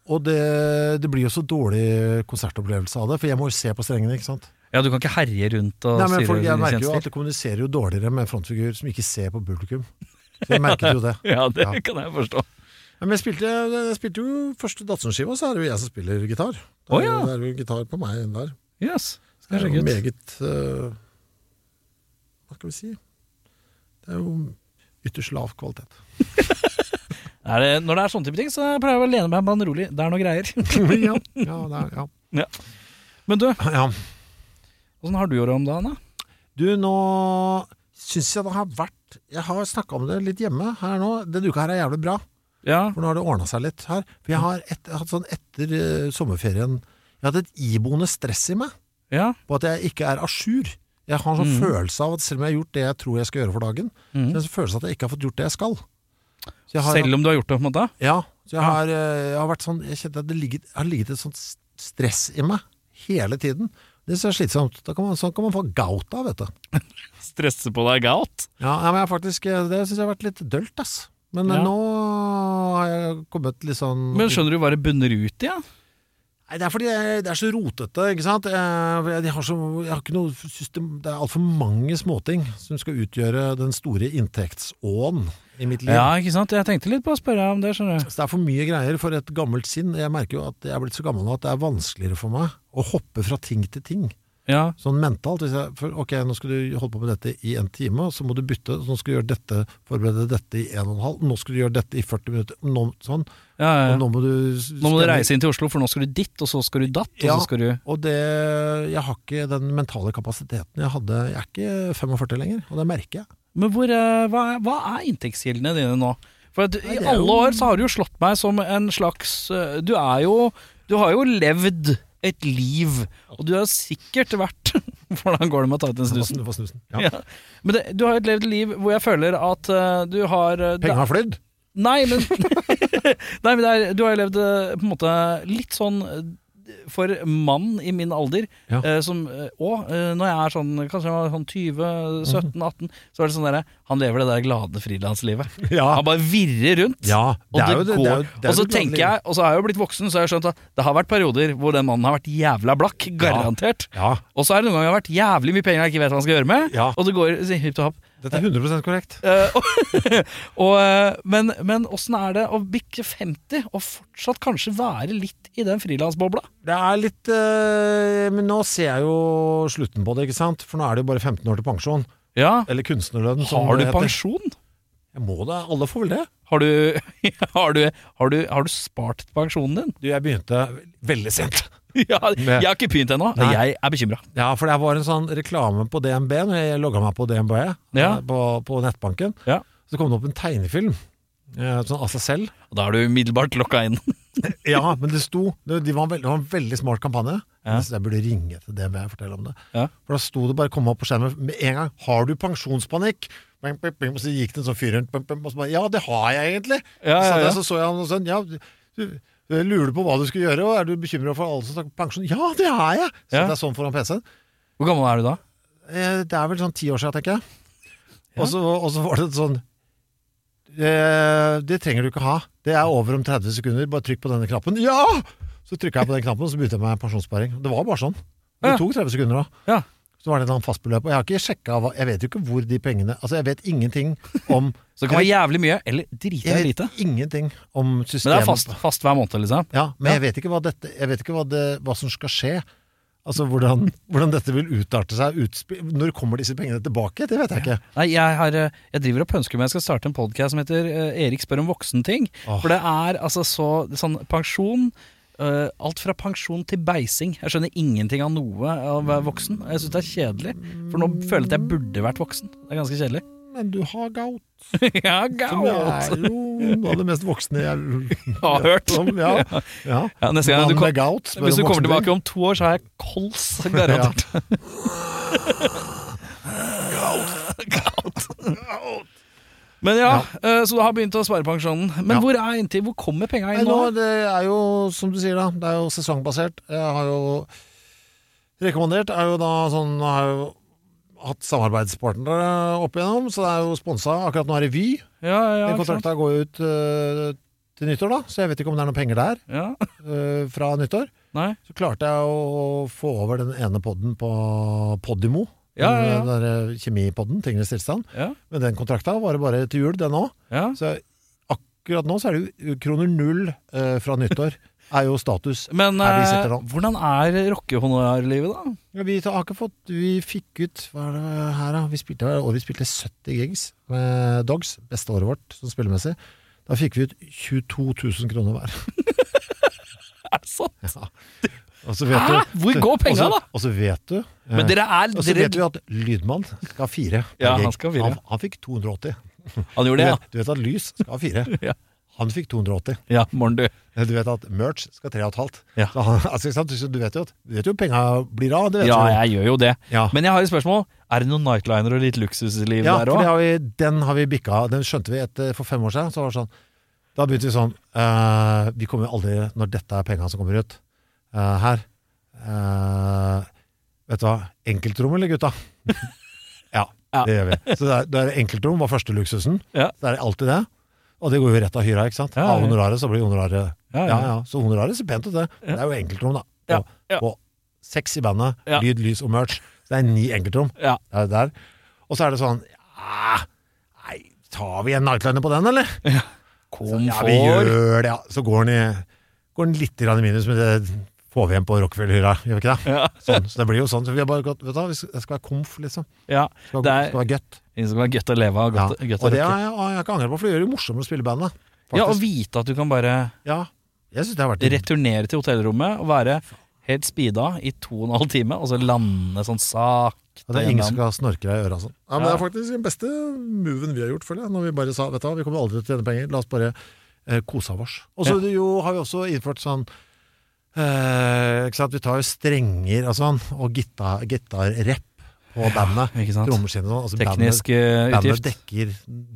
Og det, det blir jo så dårlig konsertopplevelse av det, for jeg må jo se på strengene, ikke sant.
Ja, du kan ikke herje rundt og
Nei, men
styre
folk, jeg
din
merker jo at
kjensel.
det kommuniserer jo dårligere med en frontfigur som ikke ser på publikum. Så jeg merket jo [laughs] det.
[laughs] Ja, det
Ja.
kan jeg forstå.
Ja, Men jeg spilte, jeg spilte jo første Datsun-skiva, så er det jo jeg som spiller gitar. Det
Å,
er, jo-
ja.
det er jo gitar på meg der.
Yes.
Det
Skal
er
jeg
jo
sjekke ut.
meget øh, Hva skal vi si? Det er jo ytterst lav kvalitet.
Er det, når det er sånne type ting, så pleier jeg å lene meg på en rolig. Det er noe greier.
[laughs] ja, ja, det er, ja.
Men du,
[laughs] ja.
åssen har du gjort det om dagen, da?
Du, nå syns jeg det har vært Jeg har snakka om det litt hjemme her nå. Denne uka her er jævlig bra,
Ja.
for nå har det ordna seg litt her. For jeg har et, jeg har hatt sånn etter eh, sommerferien Jeg hadde et iboende stress i meg
Ja.
på at jeg ikke er à jour. Jeg har en sånn følelse av at selv om jeg har gjort det jeg tror jeg skal gjøre for dagen, så
Mhm.
er det en følelse av at jeg ikke har fått gjort det jeg skal. Så jeg har,
Selv om du har gjort det, på en måte?
Ja. Så jeg har, eh, jeg har vært sånn Jeg kjente at det ligget, har ligget et sånt s- stress i meg hele tiden. Det er så slitsomt. Da kan man, sånn kan man få gout av, vet du.
Stresse på deg galt?
Ja, nei, men jeg har faktisk, eh, det syns jeg har vært litt dølt, ass. Men eh,
Ja.
nå har jeg kommet litt sånn
Men skjønner du hva det bunner ut i? Ja?
Nei, Det er fordi jeg, det er så rotete, ikke sant. Jeg, jeg, har så, jeg har ikke noe system Det er altfor mange småting som skal utgjøre den store inntektsåen i mitt liv.
ja, ikke sant? Jeg tenkte litt på å spørre om det, skjønner du.
Så det er for mye greier for et gammelt sinn. Jeg merker jo at jeg er blitt så gammel nå at det er vanskeligere for meg å hoppe fra ting til ting.
Ja.
Sånn mentalt. Hvis jeg, for, ok, nå skal du holde på med dette i en time, så må du bytte. Så nå skal du gjøre dette, forberede dette i en og en halv. Nå skal du gjøre dette i 40 minutter. Nå, sånn.
Ja, ja,
Og
ja.
nå må du
Nå må du reise inn til Oslo, for nå skal du dit, og så skal du datt, og
Ja.
så skal du
Og det, jeg har ikke den mentale kapasiteten jeg hadde. Jeg er ikke 45 lenger, og det merker jeg.
Men hvor, eh, hva, er- hva er inntektskildene dine nå? For at,
Nei,
I
det er
alle
jo-
år så har du jo slått meg som en slags eh, Du er jo Du har jo levd et liv, og du har sikkert vært [laughs] Hvordan går det med å ta ut den snusen?
Du får snusen. Ja.
Ja. Men det, du har jo et levd liv hvor jeg føler at eh, du har eh, det-
Pengene har flydd.
Nei, men, [laughs] nei, men det er, du har jo levd eh, på en måte litt sånn eh, for mann i min alder,
Ja.
eh, som eh, Og eh, når jeg er sånn kanskje jeg var sånn
Mhm.
20-17-18, så er det sånn derre Han lever det der glade frilanslivet.
[laughs] [laughs] Ja.
Han bare virrer rundt.
ja
Og, det
jo
går,
er jo- det er
og så
jo
tenker
gladelig.
jeg, og så har jeg jo blitt voksen, så har jeg skjønt at det har vært perioder hvor den mannen har vært jævla blakk. Garantert.
Ja,
Og så er det noen ganger det har vært jævlig mye penger jeg ikke vet hva han skal gjøre med.
Ja.
Og det går hipp til happ.
dette er 100 korrekt.
Eh, og, [laughs] og, eh, men, men åssen er det å bikke 50 og fortsatt kanskje være litt i den frilansbobla?
Det er litt eh, Men nå ser jeg jo slutten på det, ikke sant? For nå er det jo bare 15 år til pensjon.
Ja,
Eller kunstnerlønn. som
Har du
det heter.
pensjon?
Jeg må det. Alle får vel det?
Har du, [laughs] har du, har du, har du spart til pensjonen din?
Du, jeg begynte veldig sent.
[laughs] Ja, jeg har ikke begynt ennå.
Nei.
Jeg er bekymra.
Ja, for det var en sånn reklame på DNB når jeg logga meg på DNB
Ja.
eh, på, på nettbanken.
Ja.
Så kom det opp en tegnefilm eh, sånn av seg selv.
Og Da er du umiddelbart lokka inn. [laughs]
Ja, men det sto Det de var, en veld- det var en veldig smart kampanje.
Ja.
Jeg synes jeg burde ringe til DNB og fortelle om det.
Ja.
For da sto det bare kom opp på skjermen med en gang 'Har du pensjonspanikk?' Bing, bing, bing, Og så gikk det en sånn fyr rundt, bing, bing, og så bare 'Ja, det har jeg egentlig'.
Ja, ja,
Så, satt jeg,
ja.
så så jeg han og sånn 'Ja, du- du lurer du på hva du skulle gjøre, og er du bekymra for alle som snakker pensjon?' 'Ja, det er jeg'. Så
Ja.
det er sånn foran PC-en.
Hvor gammel er du da?
Eh, Det er vel sånn ti år siden, tenker jeg. Og så og så var det et sånn eh, Det trenger du ikke ha. Det er over om 30 sekunder. Bare trykk på denne knappen. Ja! Så trykka jeg på den knappen, og så begynte jeg med pensjonssparing. Det var bare sånn. Det
Ja.
tok 30 sekunder òg.
Ja.
Så var det et eller annet fastbeløp. Og jeg har ikke sjekka hva Jeg vet jo ikke hvor de pengene Altså, jeg vet ingenting
[laughs]
om
Så det kan være jævlig mye, eller drita
Jeg
lite.
vet ingenting om systemet.
Men det er fast, fast hver måned, liksom.
Ja, men jeg vet ikke hva dette Jeg vet ikke hva, det, hva som skal skje. Altså hvordan, hvordan dette vil utarte seg. Utspi når kommer disse pengene tilbake? Det vet jeg ikke.
Nei, jeg, har, eh, jeg driver og pønsker meg jeg skal starte en podkast som heter eh, 'Erik spør om voksenting'.
Åh.
For det er altså så sånn pensjon eh, Alt fra pensjon til beising. Jeg skjønner ingenting av noe av å være voksen. Jeg syns det er kjedelig. For nå føler jeg at jeg burde vært voksen. Det er ganske kjedelig. [laughs]
Men du har gout,
ja, gaut.
som er jo noe av det mest voksne jeg
[laughs] Har hørt.
om. Ja. Ja.
Ja, neste gang
Mann
du kom,
med gout. spør
hvis du
om
kommer
voksenting.
tilbake om to år, så har jeg kols.
[laughs]
Garantert.
Gout.
Men ja, eh, så du har begynt å spare pensjonen. Men
Ja.
hvor er inntil, hvor kommer penga
Nei,
inn
nå,
nå?
det er jo som du sier, da. Det er jo sesongbasert. Jeg har jo Rekommandert er jo da sånn Jeg har jo hatt samarbeidspartnere opp igjennom, så det er jo sponsa. Akkurat nå er det Vy.
Ja, ja,
Den
ikke sant?
kontrakta går jo ut eh, til nyttår, da, så jeg vet ikke om det er noen penger der
ja.
eh, fra nyttår.
Nei.
Så klarte jeg å få over den ene podden på Podimo.
Ja, ja, ja.
Den der eh, kjemipodden, tingenes tilstand.
Ja.
Men den kontrakta var det bare til jul, den òg.
ja.
Så akkurat nå så er det jo kroner null eh,
[laughs]
fra nyttår. Er jo status.
Men
Her vi
eh,
sitter nå.
hvordan er rockehonorarlivet, da? [laughs]
Ja, Vi har ikke fått Vi fikk ut Hva er det her, da? Vi spilte, og vi spilte 70 gigs med Dogs. Beste året vårt sånn spillemessig. Da fikk vi ut 22 000 kroner hver. [laughs]
Er det sant?
Ja. Og så
Hæ? Hvor går penga,
og så-
da?
Og så vet du eh,
Men dere er
Og så
dere,
vet vi at Lydmann skal ha fire. per
Ja, han
gig.
skal ha fire.
Han, han fikk 280.
Han
Du
gjorde det,
vet, du vet at Lys skal ha fire.
[laughs] Ja.
Han fikk 280.
ja. Ja, morgen, du.
Du vet at Merch skal tre og et halvt.
Ja.
Så han, altså, ikke sant? Så Du vet jo at du vet jo penga blir av. Det vet
Ja,
du.
jeg gjør jo det.
Ja.
Men jeg har et spørsmål. Er det noen nightliner og litt luksusliv
Ja,
der
for det
òg?
har vi, den har vi bikka. Den skjønte vi etter, for fem år siden. Så var det sånn, da begynte vi sånn eh, Vi kommer jo aldri, når dette er penga som kommer ut eh, her eh, Vet du hva? Enkeltrom eller gutta? [laughs] ja,
Ja.
det gjør vi. Så det er, det er enkeltrom var første luksusen.
Ja.
Så det er alltid det. Og det går jo rett av hyra, ikke sant?
Ja, ja, ja.
Av honoraret så blir honoraret
Ja,
Ja,
ja.
ja. Så honoraret ser pent ut, det.
Ja.
Det er jo enkeltrom, da.
Ja,
Og,
ja.
og seks i bandet,
Ja.
lyd, lys og merch. Så det er ni enkeltrom.
Ja.
Det er der. Og så er det sånn ja, Nei, tar vi en nightliner på den, eller? Så, ja,
får.
vi gjør det, ja. Så går den, i, går den litt grann i minus, men det får vi igjen på Rockefeller-hyra. Gjør vi ikke det?
Ja.
Sånn, så det blir jo sånn. Så vi har bare gått, vet du, hva, vi skal- det skal være komf, liksom.
ja.
Det skal,
Det er-
skal være gøtt.
Det skal være godt å leve av.
Ja.
Godt, godt å
Og det
rocke.
har jeg, har jeg ikke angret på, for det gjør det jo morsommere å spille i bandet.
Ja, og
Faktisk.
vite at du kan bare
Ja, jeg synes det har vært
returnere til hotellrommet og være helt speeda i to og en halv time, og så lande sånn sakte
At det er ingen som skal snorke deg i øra og sånn. Ja, men Det
Ja.
er faktisk den beste moven vi har gjort, føler jeg. Når vi bare sa vet du hva, vi kommer aldri til å tjene penger, la oss bare eh, kose av oss. Og så jo har vi også innført sånn eh, ikke sant? Vi tar jo strenger og sånn, og gitar- gitarrepp på bandet.
Ikke sant?
Trommeskinn og sånn. Altså
Teknisk eh,
bandet, bandet
utgift.
dekker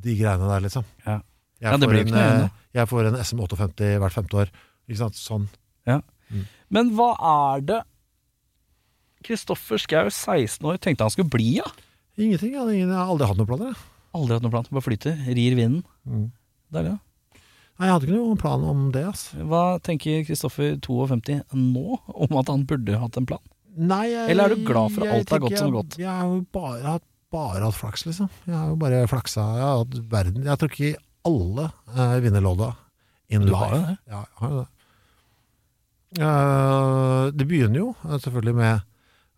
de greiene der, liksom.
Ja.
Jeg,
Ja, det
får
blir jo ikke
en,
noe igjen,
eh, jeg får en SM58 hvert femte år. Ikke sant? Sånn.
Men hva er det Kristoffer Schau, 16 år, tenkte han skulle bli av?
Ingenting. Jeg, ingen, jeg har aldri hatt noen planer. Jeg.
Aldri hatt noen plan. Bare flyter, rir vinden.
Mm.
Deilig, da.
Nei, jeg hadde ikke noen plan om det, altså.
Hva tenker Kristoffer 52 nå om at han burde hatt en plan?
Nei, jeg,
Eller er du glad for at
jeg
alt er
tenker
godt som
jeg-
godt?
Jeg har jo bare, hatt- bare hatt flaks, liksom. Jeg har jo bare flaksa. Jeg har hatt verden Jeg tror ikke alle eh, vinner lodda in
Du har jo
life.
det.
Ja, jeg har jo det. Eh, det begynner jo eh, selvfølgelig med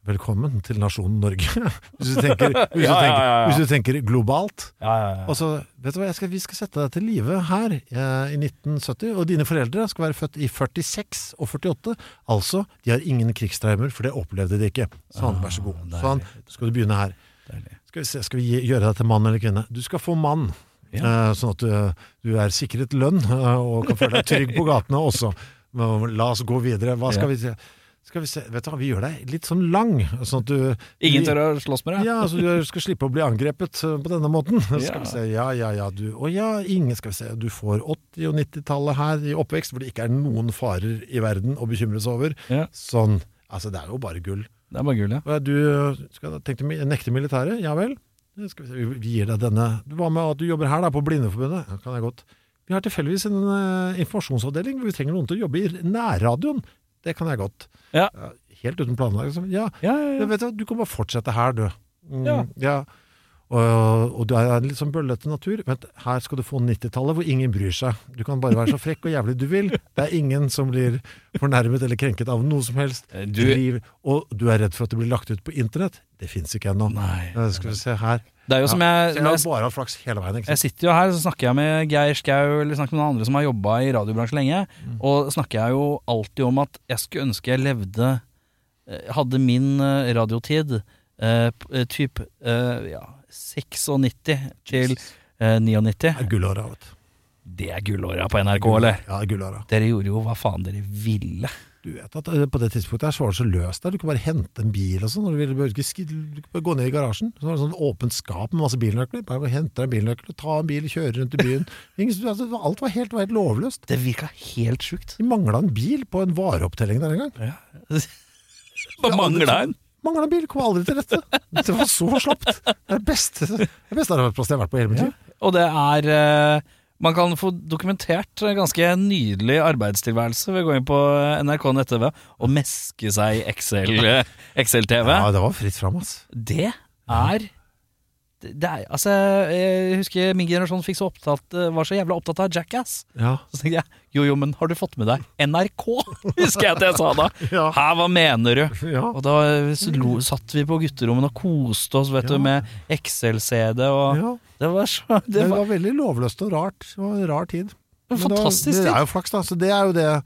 Velkommen til nasjonen Norge. [laughs] Hvis du tenker, hvis du
Ja, ja, ja,
tenker,
ja.
hvis du tenker globalt.
Ja, ja, ja.
Og så, vet du hva, jeg skal, Vi skal sette deg til live her eh, i 1970, og dine foreldre skal være født i 46 og 48. Altså, de har ingen krigstraumer, for det opplevde de ikke. Sånn, vær så god.
deilig.
Sånn, skal du begynne her.
Deilig.
Skal vi, se, skal vi gi- gjøre deg til mann eller kvinne? Du skal få mann. Eh, sånn at du, du er sikret lønn eh, og kan føle deg trygg på gatene også. Men La oss gå videre. Hva skal vi se? Skal vi se? Vet du hva, vi gjør deg litt sånn lang, sånn at du
Ingen tør å slåss med deg?
ja, altså du skal slippe å bli angrepet eh, på denne måten. Skal
Ja.
vi se, ja, ja, ja, du. Og ja, ingen, skal vi se. Du får 80- og 90-tallet her i oppvekst, hvor det ikke er noen farer i verden å bekymre seg over.
Ja.
Sånn. Altså, det er jo bare gull.
Det er bare gull, ja.
Og Du eh, skal da tenke til å nekte militæret? Ja vel. Det Skal vi, se. vi- vi gir deg denne. Du var med at du jobber her da, på Blindeforbundet. Ja, kan jeg godt. Vi har tilfeldigvis en eh, informasjonsavdeling hvor vi trenger noen til å jobbe i nærradioen. Det kan jeg godt.
Ja.
helt uten planlag. liksom. Ja,
Ja, ja,
ja,
ja.
vet du, hva, du kan bare fortsette her, du. Mm, ja.
Ja.
Og, og du er en litt sånn bøllete natur. Vent, her skal du få 90-tallet hvor ingen bryr seg. Du kan bare være så frekk og jævlig du vil. Det er ingen som blir fornærmet eller krenket av noe som helst.
Eh, du-
Driv- Og du er redd for at det blir lagt ut på internett. Det fins ikke ennå.
Nei. Eh,
Eh, Skal vi se her.
Det er jo som
Ja,
jeg,
så jeg
når
har
jeg
bare hatt flaks hele veien. Ikke
Jeg
sant?
sitter jo her, så snakker jeg med Geir Skau eller snakker med noen andre som har jobba i radiobransjen lenge,
Mm.
og snakker jeg jo alltid om at jeg skulle ønske jeg levde eh, Hadde min eh, radiotid eh, p- eh, typ eh, ja, 96 til eh, 99.
Det er gullåra, vet du.
Det er gullåra på NRK, eller?
Ja, det er gullåra.
Dere gjorde jo hva faen dere ville.
Du vet at eh, på det tidspunktet her så var det så løst der. Du kunne bare hente en bil og sånn. når Du ville Du behøvde ikke sk- du kunne bare gå ned i garasjen. Så var det sånn åpent skap med masse bilnøkler. Bare gå og hente deg en bilnøkkel, ta en bil, kjøre rundt i [laughs] byen. Ingen, som- altså, alt var helt, var helt lovløst.
Det virka helt sjukt.
De mangla en bil på en vareopptelling der en gang.
Hva mangla en?
Mangla en bil, kom aldri til rette. Det var så slapt. Det er det beste, det beste arbeidsplassen jeg har vært på i hele mitt liv.
Og det er eh, Man kan få dokumentert en ganske nydelig arbeidstilværelse ved å gå inn på eh, NRK nett-TV og meske seg i Excel, eh, Excel-TV.
Ja, det var fritt fram, ass.
Det er det det er, altså, jeg husker min generasjon fikk så opptatt, eh, var så jævla opptatt av Jackass.
Ja.
Så tenkte jeg jo jo, men har du fått med deg NRK? [laughs] Husker jeg at jeg sa da.
Ja.
Hæ, hva mener du?
ja.
Og da eh, så lo, satt vi på gutterommet og koste oss vet
Ja.
du, med Excel-CD. Og
ja.
Det var så
Det
det var,
var veldig lovløst og rart. Det var en rar tid.
En
Men det var-
fantastisk
Det
tid.
er jo flaks, da. Så det er jo det.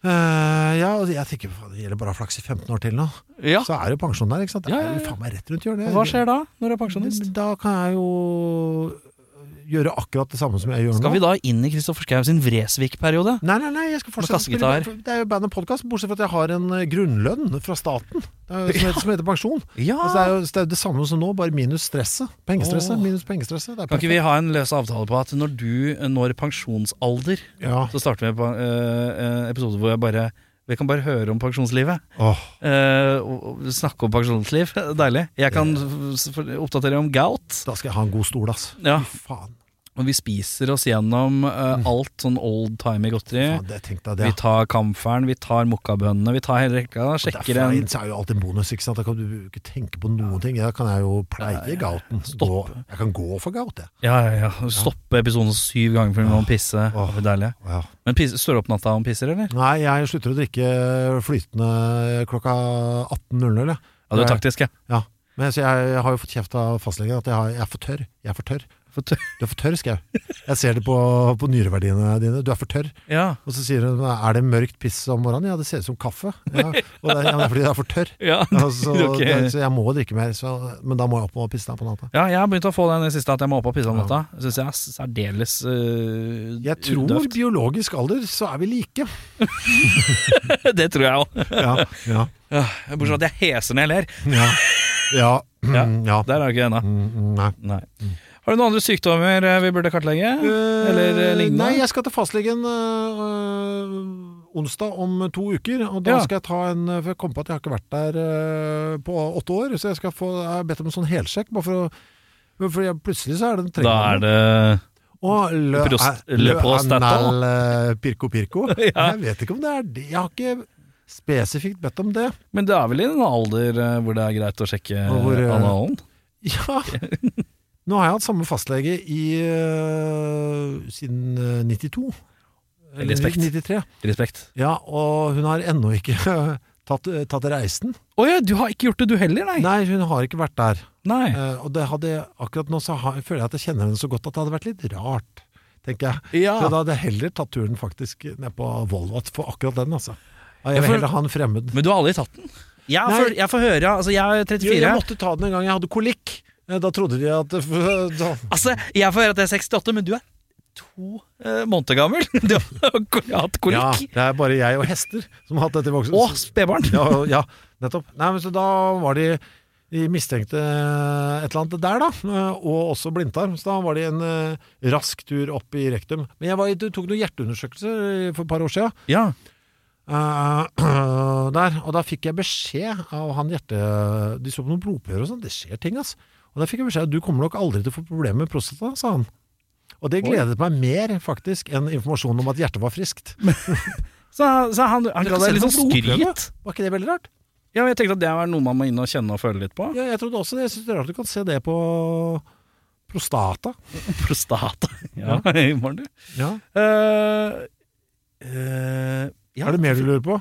Eh, ja, og jeg tenker faen, det gjelder bare å ha flaks i 15 år til nå.
Ja,
Så er det jo pensjon der, ikke sant. Det
Ja,
er
ja,
jo
ja.
faen meg rett rundt hjørnet.
Hva skjer da, når du er pensjonist?
Men Da kan jeg jo gjøre akkurat det samme som jeg gjør nå.
Skal vi da inn i Kristoffer Schau sin Vresvik-periode?
Nei, nei, nei, jeg skal fortsette å spille
kassegitar.
Det er jo band og podkast, bortsett fra at jeg har en eh, grunnlønn fra staten det er
[laughs]
jo, som, heter, som heter pensjon.
Ja!
Altså, det, er jo, så det er jo det samme som nå, bare minus stresset. Pengestresset.
Åh.
Minus pengestresset. Det er
Kan ikke vi ha en løs avtale på at når du når pensjonsalder,
Ja.
så starter vi på en episode hvor jeg bare vi kan bare høre om pensjonslivet.
Åh.
Eh, og- og snakke om pensjonsliv. Deilig. Jeg kan s- for- oppdatere om gout.
Da skal jeg ha en god stol, ass.
Ja.
Fy faen.
Og vi spiser oss gjennom eh, alt sånn old-timey godteri.
faen det, tenk deg det.
Vi tar kamferen, vi tar mokkabønnene, vi tar hele rekka. Sjekker
Derfra
en
inn så er jo alltid en bonus. ikke sant? Da kan du ikke tenke på noen ting. Da kan jeg jo pleie gauten. Gå. Jeg kan gå for gaut, jeg.
Ja, ja, ja. Stoppe episoden syv ganger for vi må pisse.
Åh.
Det er deilig.
Ja.
Men pisse, står du opp natta og pisser, eller?
Nei, jeg slutter å drikke flytende klokka 18.00. jeg.
Ja, du er taktisk, ja.
Ja. Men så jeg, jeg har jo fått kjeft av fastlegen at jeg, har, jeg er for tørr. Jeg er for tørr.
For tø-
Du er for tørr, Skau. Jeg ser det på, på nyreverdiene dine. Du er for tørr.
[laughs] Ja.
Og så sier hun er det mørkt piss om morgenen? Ja, det ser ut som kaffe. Ja, og det, er- ja, men det er fordi det er for tørr.
Ja. Altså,
Ja,
[laughs]
Altså, så,
Ok.
det, så jeg må drikke mer. Så, men da må jeg opp og pisse deg på natta.
ja, jeg har begynt å få den i det siste at jeg må opp og pisse om natta. Det Syns jeg er særdeles uh,
Jeg tror biologisk alder så er vi
[laughs]
like.
Det tror jeg òg.
Ja, ja,
Bortsett fra at jeg heser når jeg ler.
ja. ja,
Ja.
mm, ja.
Der er jeg ikke ennå.
Mm, mm, Nei.
Nei. Har du noen andre sykdommer eh, vi burde kartlegge? Eller eh, lignende?
Nei, jeg skal til fastlegen øh, øh, onsdag om to uker. Og da
Ja.
skal jeg ta en eh, For jeg kom på at jeg har ikke vært der øh, på åtte år. Så jeg skal få Jeg har bedt om en sånn helsjekk, bare for å for jeg, plutselig så er det en
Da er det
Og le,
prost-
eh, le
prostata.
anal eh, pirko pirko.
[laughs] Ja.
Jeg vet ikke om det er det. Jeg har ikke spesifikt bedt
[laughs]
om det.
Men det er vel i en alder eh, hvor det er greit å sjekke
Og hvor, eh,
analen?
Ja. Nå har jeg hatt samme fastlege i, øh, siden øh, 92. Eller
Respekt.
93.
Respekt.
Ja, og hun har ennå ikke [laughs] tatt, eh, tatt reisen.
Å ja, du har ikke gjort det du heller, nei?
Nei, hun har ikke vært der.
Nei.
Eh, og det hadde, jeg- akkurat nå så har, føler jeg at jeg kjenner henne så godt at det hadde vært litt rart, tenker jeg.
Ja.
Så da hadde jeg heller tatt turen faktisk ned på Volvat for akkurat den, altså. Ja,
Ja,
Jeg vil
for-
heller ha en fremmed.
Men du har aldri tatt den? Jeg,
Nei.
får, jeg får høre, altså jeg er
Jo,
34.
jeg måtte ta den en gang jeg hadde kolikk. Eh, Da trodde de at [laughs] da,
Altså, jeg får høre at jeg er 68, men du er to eh, måneder gammel. [laughs] Du har akkurat hatt
Ja,
kolikk.
det er bare jeg og hester som har hatt dette i voksen
Og spedbarn.
Ja, ja, nettopp. Nei, men så da var de de mistenkte et eller annet der, da. eh, Og også blindtarm. Så da var det en eh, rask tur opp i rektum. Men jeg var, i- tok noen hjerteundersøkelser for et par år siden.
Ja.
Eh, [clears throat] der, og da fikk jeg beskjed av han hjerte... De så på noen blodprøver og sånn, det skjer ting, ass. Og da fikk jeg beskjed at du kommer nok aldri til å få problemer med prostata, sa han. Og det
Oi.
gledet meg mer, faktisk, enn informasjonen om at hjertet var friskt.
Så, så han, han ga deg litt sånn skryt.
Var ikke det veldig rart?
Ja, men jeg tenkte at det var noe man må inn og kjenne og føle litt på.
Ja, jeg trodde også det. Jeg synes det er rart du kan se det på prostata.
[laughs] Prostata. Ja, i morgen, du.
Ja.
Eh, eh, ja.
Er det mer du lurer på?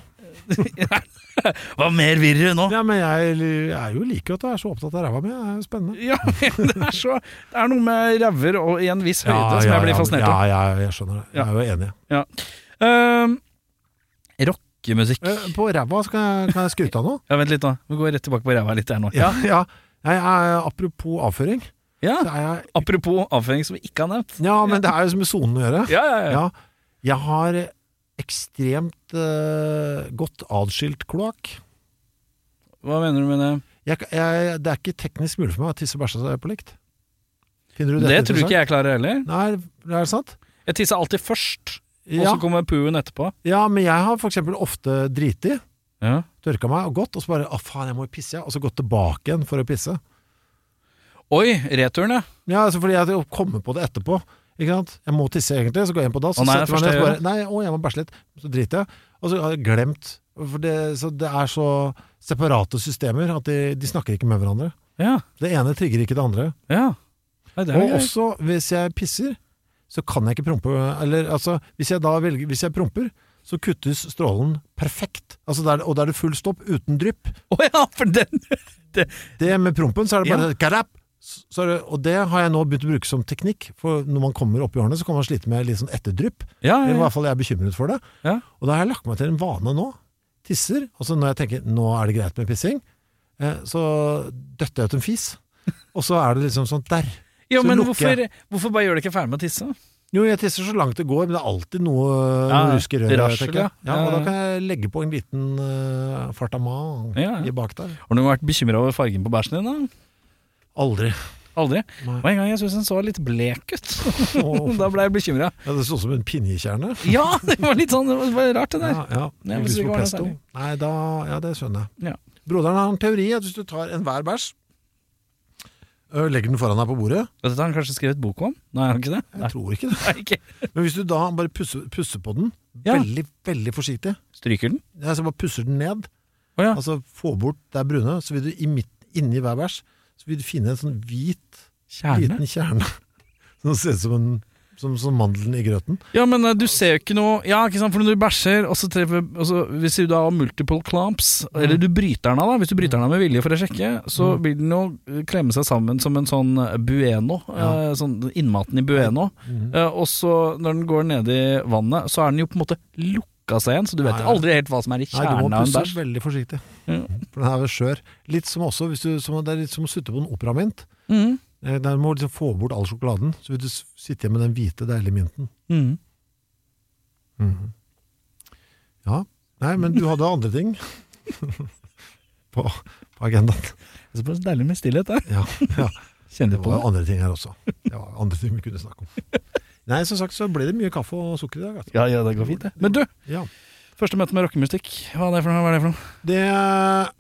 Hva mer virrer nå?
Ja, men jeg, jeg er jo like at du er så opptatt av ræva mi. Det er jo spennende.
Ja, [laughs] men det er så Det er noe med ræver og i en viss høyde som jeg blir fascinert
ja,
av.
ja, jeg skjønner det. Jeg er jo enig.
Eh, Rockemusikk
Eh, På ræva skal jeg, kan jeg skryte av noe.
Ja, Vent litt, nå. Vi går rett tilbake på ræva litt her nå.
Ja, ja. Nei, jeg, apropos avføring.
Ja,
så er Jeg,
Apropos avføring som vi ikke har nevnt.
ja, men det er jo så med sonen å gjøre.
Ja, ja, ja.
Ja, jeg har ekstremt eh, godt adskilt kloakk.
Hva mener du med det?
Jeg, jeg, det er ikke teknisk mulig for meg å tisse og bæsje på likt. Finner du
Det,
dette
tror ikke
interessant?
jeg klarer heller.
Nei, er det sant?
Jeg tisser alltid først, og
Ja,
så kommer puen etterpå.
ja, men jeg har for eksempel ofte driti,
Ja.
tørka meg og gått, og så bare 'å faen, jeg må jo pisse', jeg», og så gått tilbake igjen for å pisse.
Oi, returen, ja.
Ja, altså fordi jeg kommer på det etterpå. Ikke sant? Jeg må tisse egentlig, så går jeg inn på dass.
Å,
så
nei,
setter jeg meg
det er
ned, så
første
bare, nei, å, jeg må bæsje litt. Så driter jeg. Og så har jeg glemt for det, Så det er så separate systemer at de, de snakker ikke med hverandre.
Ja.
Det ene trigger ikke det andre.
ja. Nei, det er
Og
jo greit.
også hvis jeg pisser, så kan jeg ikke prompe Eller altså, hvis jeg da velger Hvis jeg promper, så kuttes strålen perfekt. Altså der, og da er det full stopp, uten drypp.
Å ja, for den
Det med prompen, så er det bare karap, så så er det, Og det har jeg nå begynt å bruke som teknikk. For når man kommer opp i årene, så kan man slite med litt sånn etterdrypp.
Ja,
I
ja, ja.
hvert fall jeg er bekymret for det.
Ja.
Og da har jeg lagt meg til en vane nå. Tisser. Altså når jeg tenker nå er det greit med pissing, eh, så døtter jeg ut en fis. Og så er det liksom sånn der.
ja
så
men
lukker
hvorfor,
jeg.
hvorfor bare gjør du ikke ferdig med å tisse?
Jo, jeg tisser så langt det går, men det er alltid noe,
Ja,
noe rusk i røret.
rasjel,
tenker jeg.
ja.
Ja, og
Ja,
da
ja.
kan jeg legge på en liten uh, fartamang
Ja, ja.
i bak der.
Har du vært bekymra over fargen på bæsjen din? da?
Aldri.
Aldri.
Nei.
Det var en gang jeg syntes den så litt blek ut.
Å,
[laughs] da ble jeg bekymra.
ja, det så ut som en pinjekjerne.
Ja, det var litt sånn det var rart, det der.
Ja, ja.
Nei, men
Lyst
så
på
går det
pesto.
særlig.
Nei, da, ja, det skjønner jeg.
Ja.
Broderen har en teori at hvis du tar enhver bæsj, ø, legger den foran deg på bordet
Dette har han kanskje skrevet bok om? Nei, har han ikke det? [laughs]
Jeg
Nei,
tror ikke det.
Nei, ikke.
Men hvis du da bare pusser, pusser på den,
Ja.
veldig, veldig forsiktig
Stryker den?
Ja, så bare pusser den ned,
Å ja.
altså få bort det brune, så vil du i midt, inni hver bæsj så vil du finne en sånn hvit
Kjerne?
liten kjerne [laughs] som ser ut som, en, som, som mandelen i grøten.
Ja, men eh, du ser jo ikke noe Ja, ikke sant, for når du bæsjer, og så treffer og så, Hvis du da har multiple clamps, eller du bryter den av, da hvis du bryter den av med vilje for å sjekke, så vil den jo eh, klemme seg sammen som en sånn eh, bueno. eh, Sånn innmaten i bueno. Eh, Og så når den går ned i vannet, så er den jo på en måte lukka seg igjen, så du vet
Ja, ja.
aldri helt hva som er i
Nei, du må
kjernen av en
pusse
bæsj.
veldig forsiktig,
Ja.
for den er vel skjør. Litt som også, hvis du, som, det er litt som å sutte på en operamynt.
Mhm.
Eh, Der må du liksom få bort all sjokoladen, så vil du s- sitte igjen med den hvite, deilige mynten.
Mhm.
Ja. Nei, men du hadde andre ting [laughs] på, på agendaen.
Det er så deilig med stillhet der.
Ja, ja.
Kjenner
Det
du på
var
det?
jo andre ting her også. Det var andre ting vi kunne snakke om. Nei, som sagt så ble det mye kaffe og sukker i dag. Altså.
Ja, ja, det går fint, det. Men du,
Ja.
første møte med rockemusikk, hva er det for noe? Hva er det for noe?
Det,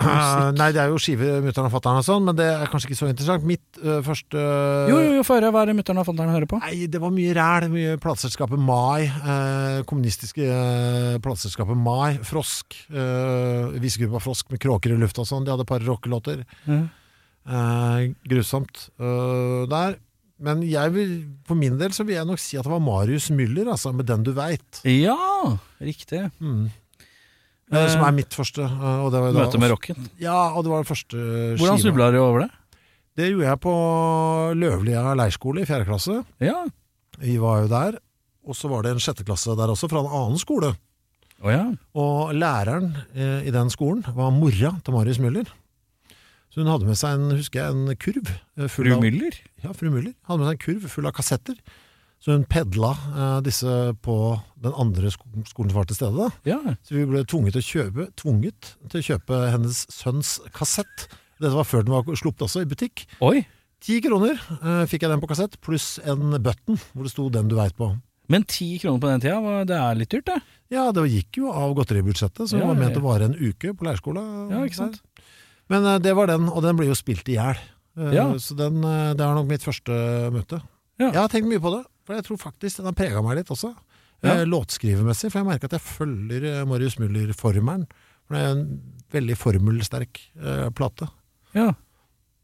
eh, nei, det er jo skiver mutter'n og fatter'n og sånn, men det er kanskje ikke så interessant. Mitt øh, første
Jo, jo, jo, få høre. Hva er det mutter'n og fatter'n hører på?
Nei, det var mye ræl. Mye plateselskapet Mai. Eh, kommunistiske eh, plateselskapet Mai. Frosk. Eh, Visegruppa Frosk med kråker i lufta og sånn. De hadde et par rockelåter.
Ja.
Eh, grusomt eh, der. Men jeg vil, for min del så vil jeg nok si at det var Marius Müller, altså, med 'Den du veit'.
Ja, riktig.
Mm. eh, som er mitt første. eh, Og det var jo da,
Møte med rocken.
Ja, og det var den første eh,
Hvordan
skiva.
snubla du over det?
Det gjorde jeg på Løvlia leirskole i fjerde klasse.
Ja.
Vi var jo der. Og så var det en sjette klasse der også, fra en annen skole.
Å ja.
Og læreren eh, i den skolen var mora til Marius Müller. Så hun hadde med seg en, husker jeg, en kurv eh, full
Fru
av
Müller?
Ja, fru Müller hadde med seg en kurv full av kassetter. Så hun pedla eh, disse på den andre sko skolen som var til stede. da.
Ja.
Så vi ble tvunget til å kjøpe, tvunget til å kjøpe hennes sønns kassett. Dette var før den var sluppet også, i butikk.
Oi.
Ti kroner eh, fikk jeg den på kassett, pluss en button hvor det sto 'Den du veit på'.
Men ti kroner på den tida, var- det er litt dyrt, det.
Ja, det gikk jo av godteribudsjettet, så det
Ja,
var ment
ja.
å vare en uke på leirskole.
Ja, ikke sant?
Men eh, det var den, og den ble jo spilt i hjel. Eh,
Ja.
Så den, eh, det er nok mitt første møte.
Ja.
Jeg har tenkt mye på det, for jeg tror faktisk den har prega meg litt også.
Ja.
Eh, Låtskrivermessig, for jeg merker at jeg følger eh, Marius Müller-formelen. For det er en veldig formelsterk eh, plate.
Ja.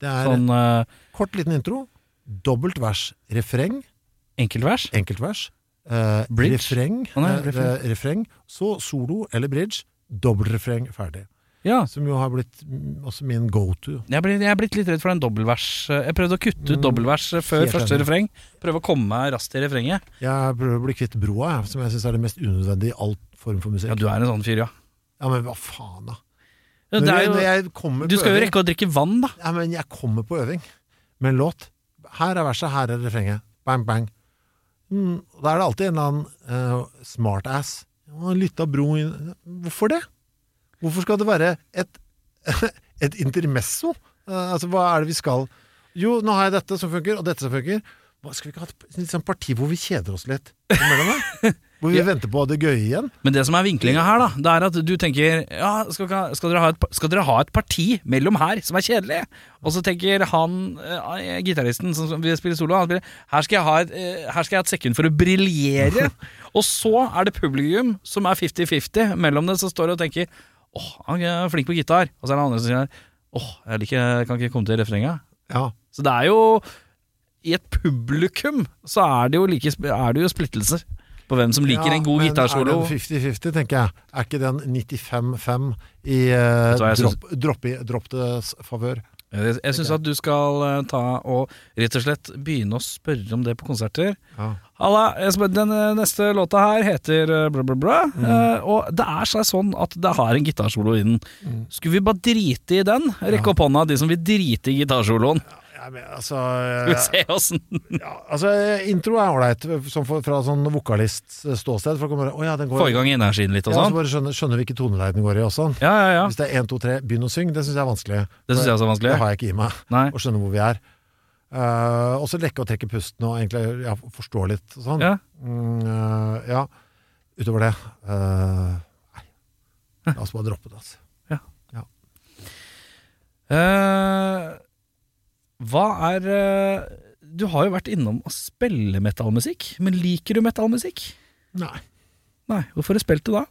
Det er
Sånn eh,
kort liten intro, dobbelt vers, refreng,
eh, enkeltvers.
enkeltvers, eh,
Bridge?
refreng,
Å, nei,
eh,
refreng.
eh, refreng, så solo eller bridge, dobbeltrefreng, ferdig.
Ja.
Som jo har blitt mm, også min go-to.
Jeg er, blitt, jeg er blitt litt redd for den dobbeltvers. eh, Jeg prøvde å kutte ut
Mm,
dobbeltvers eh, før
helt
første
enig.
refreng. Prøve å komme meg raskt i refrenget.
Jeg prøver å bli kvitt broa, jeg, som jeg syns er det mest unødvendige i all form for musikk.
Ja, du er en sånn fyr, ja.
Ja, men hva faen, da.
ja
Når
det
jeg,
er
når
jo,
jeg kommer
du
på
skal jo
øving
rekke å drikke vann, da.
ja, men Jeg kommer på øving med en låt. Her er verset, her er refrenget. Bang, bang. Mm, og da er det alltid en eller annen eh, smartass. Ja, Litt av bro inn Hvorfor det? Hvorfor skal det være et, [laughs] et intermesso? Eh, altså, hva er det vi skal Jo, nå har jeg dette som funker, og dette som funker. Hva, skal vi ikke ha et et sånt parti hvor vi kjeder oss litt imellom? da? Hvor vi venter på det gøye igjen?
Men det som er vinklinga her, da, det er at du tenker ja, skal, ikke ha- skal, dere ha et, pa- skal dere ha et parti mellom her som er kjedelig? Og så tenker han, eh, gitaristen som som vil spille solo, han spiller her skal, jeg ha et, eh, her skal jeg ha et sekund for å
[laughs]
briljere. og så er det publikum som er 50-50 mellom det, som står og tenker åh, han er flink på gitar. Og så er det andre som sier åh, jeg liker, jeg kan ikke komme til refrenget.
Ja.
Så det er jo I et publikum så er det jo, like, sp- er det jo splittelser på hvem som liker
Ja,
en god
men
gitarsolo.
Er den 50-50, tenker jeg? Er ikke den 95-5 i
Vet
eh,
du hva, jeg
dropp, dropp, i- dropp des favør?
Jeg, jeg syns at du skal eh, ta og rett og slett begynne å spørre om det på konserter.
Ja.
Halla, jeg spør- den eh, neste låta her heter eh, bla, bla, bla.
Mm.
eh, Og det er seg sånn at det har en gitarsolo i den.
Mm.
Skulle vi bare drite i den? Rekke opp hånda, de som vil drite i gitarsoloen.
Ja, men
[laughs]
altså,
Skal vi
eh,
se åssen
ja, altså Intro er ålreit, sånn for- fra sånn vokalistståsted. For å komme, å ja, den går,
Få i gang energien litt og
Ja, altså, så
sånn.
bare skjønner, skjønner hvilken toneleie den går i og sånn.
Ja, ja, ja.
Hvis det er 1, 2, 3, begynn å synge, det syns jeg er vanskelig.
Det syns jeg også er
Det
vanskelig.
har jeg ikke i meg.
Nei.
Å skjønne hvor vi er. Eh, og så lekke og trekke pusten og egentlig ja, forstå litt og sånn.
Ja.
Mm, eh, ja. Utover det eh, Nei. La oss bare droppe det. Altså.
Eh, hva er eh, Du har jo vært innom å spille metallmusikk, men liker du metallmusikk?
Nei.
Nei, hvorfor har du spilt det da?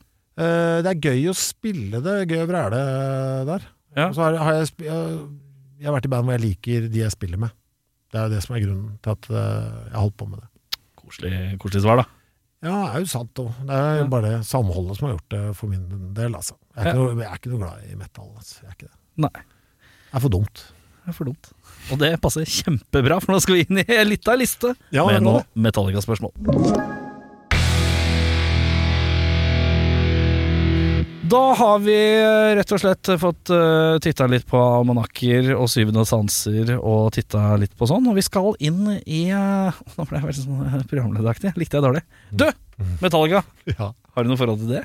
Eh, det er gøy å spille det, gøy å vræle eh, der.
Ja.
Og så har, har jeg, sp- jeg, jeg har vært i band hvor jeg liker de jeg spiller med. Det er jo det som er grunnen til at eh, jeg har holdt på med det.
Koselig, koselig svar, da.
Ja, det er jo sant òg. Det er jo
Ja.
bare samholdet som har gjort det for min del, altså. Jeg er ikke, noe, jeg er ikke noe glad i metal, altså. Jeg er ikke det.
Nei,
Det er for dumt.
det er for dumt. Og det passer kjempebra, for nå skal vi inn i en lita liste
Ja, det
med
er bra,
noen Metallica-spørsmål. Da har vi eh, rett og slett fått uh, titta litt på almanakker og syvende sanser og titta litt på sånn, og vi skal inn i eh, [laughs] Nå ble jeg veldig sånn eh, programlederaktig. Likte jeg dårlig. Du!
Mm.
Metallica,
Ja.
har du noe forhold til det?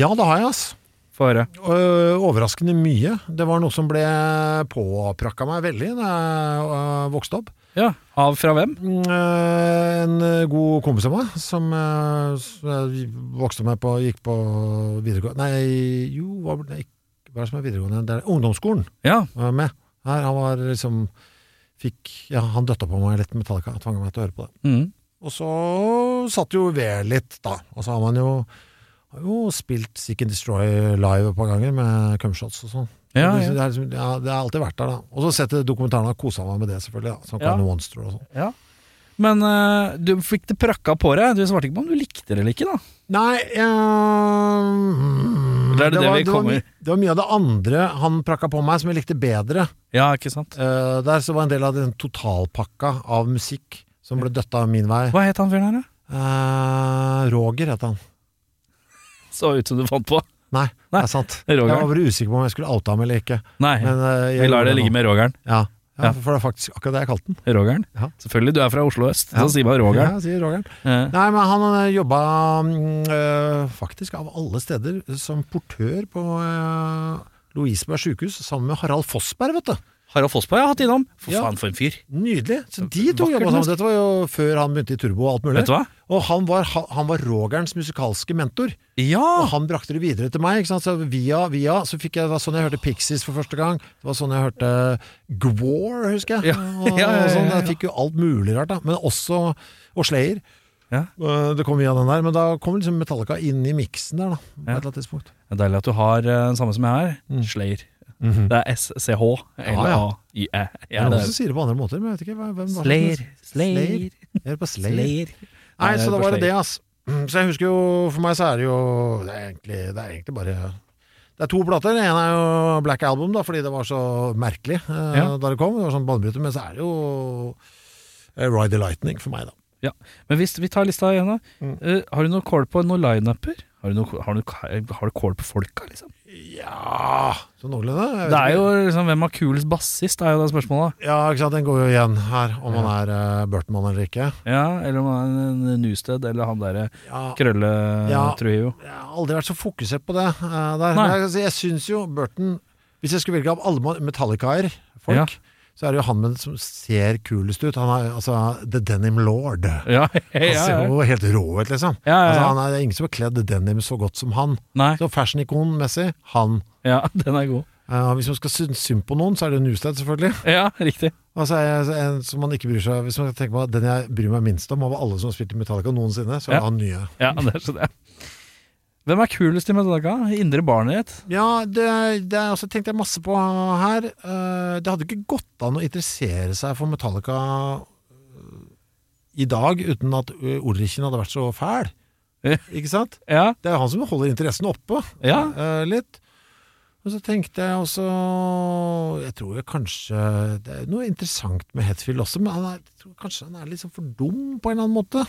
ja, det har jeg, altså.
Få høre.
Øh, Overraskende mye. Det var noe som ble påprakka meg veldig da jeg øh, vokste opp.
Ja. Av fra hvem?
Mm, øh, En øh, god kompis av meg som øh, s- jeg vokste opp med på gikk på videregående Nei, jo, hva ble det ikke- hva er det som er videregående? Det er ungdomsskolen
Ja.
var med. Her, han var liksom Fikk Ja, han døtta på meg litt Metallica. Tvang meg til å høre på det.
Mm.
Og så satt jo ved litt, da. Og så har man jo, har jo spilt Seek and Destroy live et par ganger med cumshots og sånn.
Ja,
det,
ja.
er liksom, ja, det har alltid vært der, da. Og så sett dokumentaren og kosa meg med det, selvfølgelig. da Som
Ja.
Carl Monster og sånn.
ja. Men eh, du fikk det prakka på deg. Du svarte ikke på om du likte det eller ikke, da.
Nei eh, mm,
Det er det, det
var,
vi kommer
var, my- det var mye av det andre han prakka på meg som jeg likte bedre.
Ja, ikke sant?
Eh, der så var en del av den totalpakka av musikk som ble døtta min vei.
Hva het han fyren her, da?
Eh, Roger het han.
Så ut som du fant [laughs] på.
Nei,
Nei,
det er sant.
det er Roger.
Jeg var bare usikker på om jeg skulle oute ham eller ikke.
Nei,
Men, eh, jeg
vi lar
gjorde
det ligge
nå.
med Rogeren.
Ja.
Ja.
ja, for det er faktisk akkurat det jeg kalte den.
Rogeren?
Ja.
Selvfølgelig, du er fra Oslo øst,
Ja.
så sier man
Ja,
Rogeren.
jeg sier Roger.
Ja.
Nei, men han eh, jobba mm, eh, faktisk av alle steder som portør på eh, Lovisenberg sjukehus sammen med Harald Fossberg, vet du.
Harald Fossberg har jeg hatt innom. For
Ja.
faen, for en fyr.
Nydelig. Så de to
Vakkert
jobba sammen.
menneske.
Dette var jo før han begynte i Turbo og alt mulig.
Vet du hva?
Og han var, ha- han var Rogerens musikalske mentor. Og
Ja!
han brakte det videre til meg. Ikke sant? Så via, via, så fikk jeg, det var sånn jeg hørte Pixies for første gang. Det var sånn jeg hørte Gwar, husker
Ja,
jeg. Og,
[laughs] ja, ja,
og
ja,
sånn,
ja.
jeg fikk jo alt mulig rart, da. Men også Og Slayer.
Ja.
Eh, Det kom via den der, men da kom liksom Metallica inn i miksen der, da. På et eller annet tidspunkt.
Det er deilig at du har eh, den samme som jeg har. Slayer. Det er SCH.
Ja, ja.
L-A-Y-E.
Det
Mhm. Ja, det
er noen
er-
som sier det på andre måter, men jeg vet ikke hva- hvem var det som-
Slayer, Slayer,
Jeg hører på Slayer.
Slayer.
Nei,
Nei,
så da
på
var det
Slayer.
det, ass. Mm, Så jeg husker jo, for meg så er det jo Det er egentlig, det er egentlig bare Det er to plater. Den ene er jo Black Album, da, fordi det var så merkelig eh,
Ja.
da det kom. Det var sånn banebryter. Men så er det jo eh, Ride the Lightning for meg, da.
Ja. Men hvis vi tar lista igjen, da.
Mm.
Eh, har du noe kål på noen lineuper? Har du, noe, har, du, har du kål på folka, liksom?
Ja Så noenlunde. jeg vet
Det er
ikke.
jo liksom Hvem har kulest bassist, er jo det spørsmålet.
Ja, ikke sant. Den går jo igjen her, om han er uh, Burton-mann eller ikke.
Ja, Eller om han er en Newsted, eller han eh, derre
Ja, Ja.
Krølle-Trujillo.
jeg har aldri vært så fokusert på det. eh, der.
Nei.
Men jeg, altså, jeg syns jo Burton Hvis jeg skulle velge av alle ma- Metallicaer, folk,
Ja.
så er det jo han med, som ser kulest ut. Han er altså The Denim Lord. Altså, Han
Ja, [laughs] ja,
ser
ja.
jo helt rå ut, liksom.
Ja, ja,
Altså,
ja.
han er, det er ingen som har kledd denim så godt som han.
Nei,
Så fashion-ikon-messig, han.
ja, den er god.
Eh, hvis man skal synes synd på noen, så er det Newsted, selvfølgelig.
Ja, riktig.
Og så er jeg en som man ikke bryr seg Hvis man tenker på at den jeg bryr meg minst om av alle som har spilt i Metallica noensinne, så er
Ja.
det han nye.
Ja, det skjønner jeg. Hvem er kulest i Metallica? Indre barnet ditt?
Ja, det, det er også tenkte jeg masse på her. Eh, Det hadde ikke gått an å interessere seg for Metallica i dag uten at eh, Ulrichen hadde vært så fæl.
Ja.
Ikke sant?
Ja,
Det er jo han som holder interessen oppe
Ja.
eh, litt. Og så tenkte jeg også Jeg tror jeg kanskje Det er noe interessant med Hetfield også, men han er, jeg tror kanskje han er liksom for dum på en eller annen måte.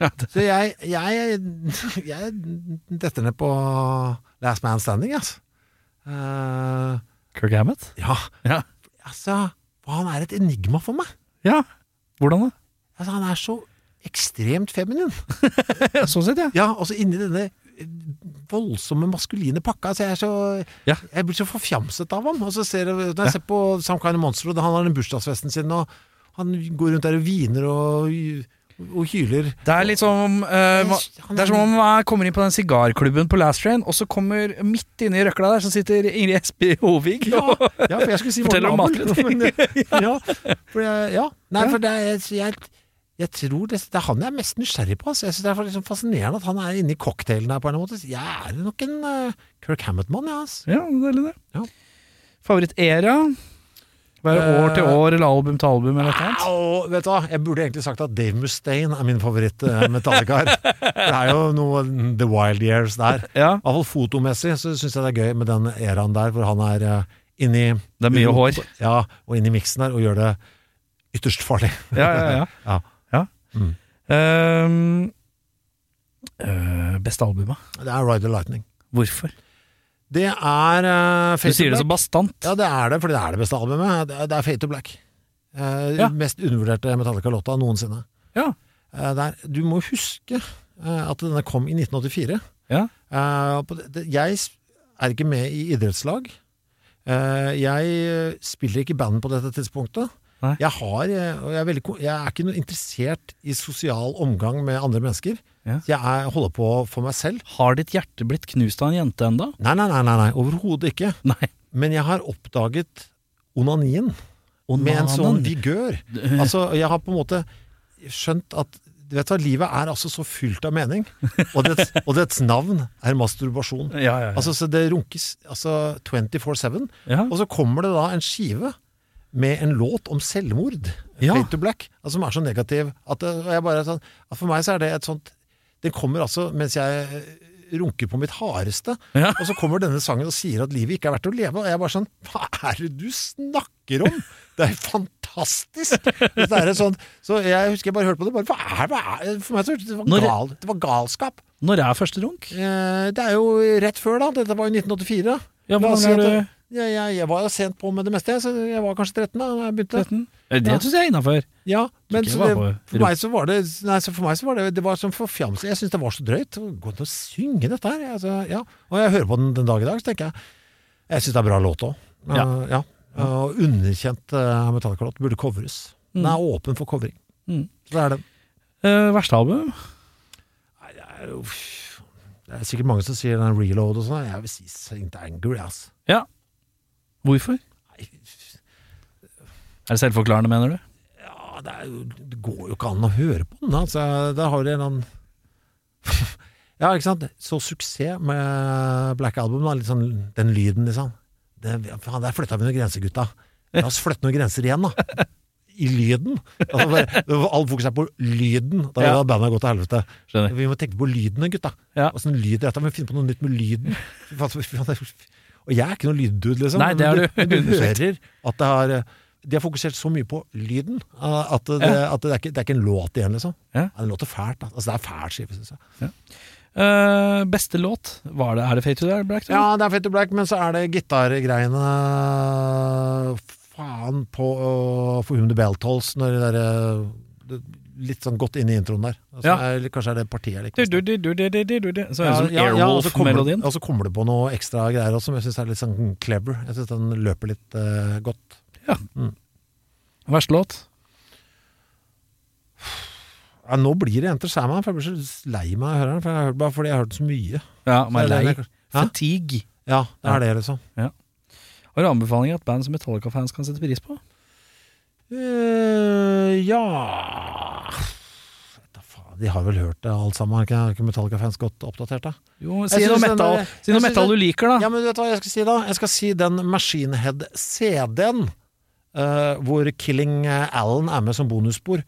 Ja, det-
Så jeg, jeg, [laughs] jeg detter ned på Last Man Standing, altså. Eh,
Kirk Hammett?
ja,
Ja.
altså Han er et enigma for meg.
ja. Hvordan da?
Altså, han er så ekstremt feminin.
Ja, sånn sett, ja.
[laughs] Ja, og så inni denne eh, voldsomme maskuline pakka. Så jeg, er så,
Ja.
jeg blir så forfjamset av ham. Og så ser jeg, når jeg ser på Sam Kind of Monster, og han har den bursdagsfesten sin, og han går rundt der og hviner og, og hyler.
Det er litt som eh, ma- Det er som om jeg kommer inn på den sigarklubben på Last Train, og så kommer midt inne i røkla der, så sitter Ingrid Espie Hovig.
[laughs] Ja,
og-
ja, for jeg skulle si
Fortell
Morten
om
Abel.
matlønning.
men, [laughs] ja, for jeg, ja. Nei, for det er, så jeg, jeg tror det, det er han jeg er mest nysgjerrig på. Så jeg synes Det er liksom fascinerende at han er inne i cocktailen her på en eller annen måte. Så Jeg er nok en eh, Kirk Hammett-mann, jeg. Altså.
Ja, det er litt det.
Ja.
Favorittera? Være
Eh,
år til år, eller album til album, eller noe annet?
Au, vet du hva, jeg burde egentlig sagt at Dave Mustaine er min favoritt-metalliker. det er jo noe The Wild Years der.
Ja,
I hvert fall fotomessig så syns jeg det er gøy med den eraen der hvor han er eh, inni
det er mye hår.
Ja, og inni miksen der og gjør det ytterst farlig.
Ja, ja, [laughs] ja.
Ja.
Ehm, øh, beste albumet?
Det er Ride the Lightning.
Hvorfor?
Det er eh,
Du
Fate
sier
to
det så
Black.
bastant.
Ja, det er det, fordi det er det beste albumet. Det er, det er Fate to Black. Eh,
Ja.
Mest undervurderte Metallica-låta noensinne.
Ja.
Eh, det er- du må huske eh, at denne kom i 1984.
Ja.
Eh, på det, det, jeg s- er ikke med i idrettslag. Eh, jeg spiller ikke i band på dette tidspunktet.
Nei.
Jeg, har, eh, og jeg, er veldig, ko- jeg er ikke noe interessert i sosial omgang med andre mennesker.
Ja.
Jeg er, holder på for meg selv.
Har ditt hjerte blitt knust av en jente enda?
Nei, nei, nei, nei, nei overhodet ikke.
Nei.
Men jeg har oppdaget onanien med en sånn vigør. [laughs] Altså, jeg har på en måte skjønt at du vet hva, Livet er altså så fylt av mening, og dets, og dets navn
[laughs]
er masturbasjon.
Ja, ja, ja.
Altså, så Det runkes altså 24-7.
ja.
Og så kommer det da en skive med en låt om selvmord,
Ja.
Fate to Black, altså, som er så negativ at, det- og jeg bare, er sånn, at For meg så er det et sånt Det kommer altså mens jeg eh, runker på mitt hardeste.
Ja.
Og så kommer denne sangen og sier at livet ikke er verdt å leve. Og jeg er bare sånn Hva er det du snakker om?! Det er jo fantastisk! Dette er et sånt, så jeg husker jeg bare hørte på det. Bare, hva er, hva er, for meg så hørtes det ut
Når-
gal, det var galskap.
Når er første runk?
Eh, det er jo rett før, da. Dette var jo 1984.
Ja,
La oss
hvordan
si
er
at-
du-
Jeg, jeg, jeg var jo sent på med det meste, jeg, så jeg var kanskje 13 da da jeg begynte.
13? Eh, Det syns jeg er innafor.
Ja, men
Ikke
så
bare
det,
på
for,
rom.
meg så var det, nei, så for meg så var det Det var som forfjamsing. Jeg syns det var så drøyt. Gå an å synge dette her. Altså, ja. Og jeg hører på den den dag i dag, så tenker jeg Jeg syns det er bra låt òg. Ja. ja. Og underkjent uh, metallkalott. Burde covres. Den er åpen for covring.
Mm.
Så det er det.
Eh, verste album?
Nei, det er jo Det er sikkert mange som sier den reload og sånn. Jeg vil si Saint Anger, ass.
Ja. Hvorfor?
Nei,
Er det selvforklarende, mener du?
Ja, det, er jo, det går jo ikke an å høre på den. da. Altså, der har du en annen [laughs] Ja, ikke sant? Så suksess med Black Album, da. Litt sånn, den lyden, liksom. Det, faen, der flytta vi noen grenser, gutta. La oss flytte noen grenser igjen, da. I lyden. Altså, bare, det var All fokus er på lyden. Da
Ja.
hadde bandet gått til helvete.
Skjønner.
Vi må tenke på lydene, gutta.
Ja.
Åssen lyd er dette? Vi må finne på noe nytt med [laughs] lyden. Fy faen, fy faen. Og jeg er ikke noen lyddude, liksom.
Nei, det er du.
[laughs] Men du hører at det har De har fokusert så mye på lyden eh, at det, at det, er, ikke, det er ikke en låt igjen, liksom.
Ja.
Den låter fælt. da. Altså, det er fæl skive, syns jeg.
Eh, beste låt? Var det, er det Fate to the Black? tror du?
Ja, det er Fate to Black, men så er det gitargreiene Faen på øh, For Whom the Bell Tolls, når det derre Litt sånn godt inn i introen der. Altså,
Ja.
er, kanskje er det partiet jeg liker.
Du, du, du, du, du, du, du, du, du. Så høres det ut som
og så kommer det-
Airwolf-melodien.
Og så kommer det på noe ekstra greier også, som jeg syns er litt sånn clever. Jeg syns den løper litt eh, godt.
Verste låt?
Ja, nå blir det Enter Salmon, for jeg blir så lei meg av å høre den. For jeg har hørt, bare fordi jeg har hørt den så mye.
Ja, man
Så
er
det-
lei.
det- Hæ?
Fatigue.
Ja, det er det, liksom.
Har du anbefalinger at band som Metallica-fans kan sette pris på?
Eh, ja Vet da faen, De har vel hørt det, alt sammen. Er ikke, er ikke Metallica-fans godt oppdatert, da?
Jo,
Jeg
Si noe
synes den
metal,
er-
si
jeg
noe
synes
metal du
den-
liker, da.
Ja, men vet du hva jeg skal si da? Jeg skal si den Machine Head CD-en, eh, hvor Killing Allen er med som bonusspor.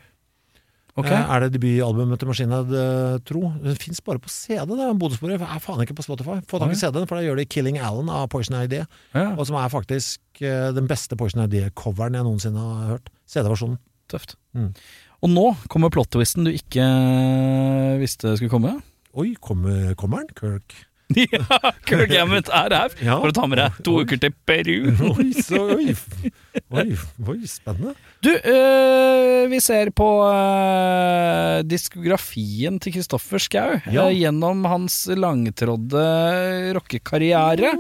Ok.
Eh, er det debutalbumet til Machine Head, eh, tro? Den fins bare på CD, det er bonussporet. Jeg er faen ikke på Spotify. Få tak
Oi.
i CD-en, for da gjør de Killing Allen av Poison Idea,
Ja,
og som er faktisk eh, den beste Poison Idea-coveren jeg noensinne har hørt. CD-versjonen.
tøft.
Mm.
Og nå kommer plot-twisten du ikke eh, visste skulle komme. [laughs]
Oi, kommer, kommer den? Kirk.
ja, Kirk Hammett er her
Ja.
for å ta med deg to uker til Peru.
[laughs] Oi, så, oi, oi, oi, spennende.
Du, øh, vi ser på øh, diskografien til Kristoffer Schau
Ja.
øh, gjennom hans langtrådde rockekarriere.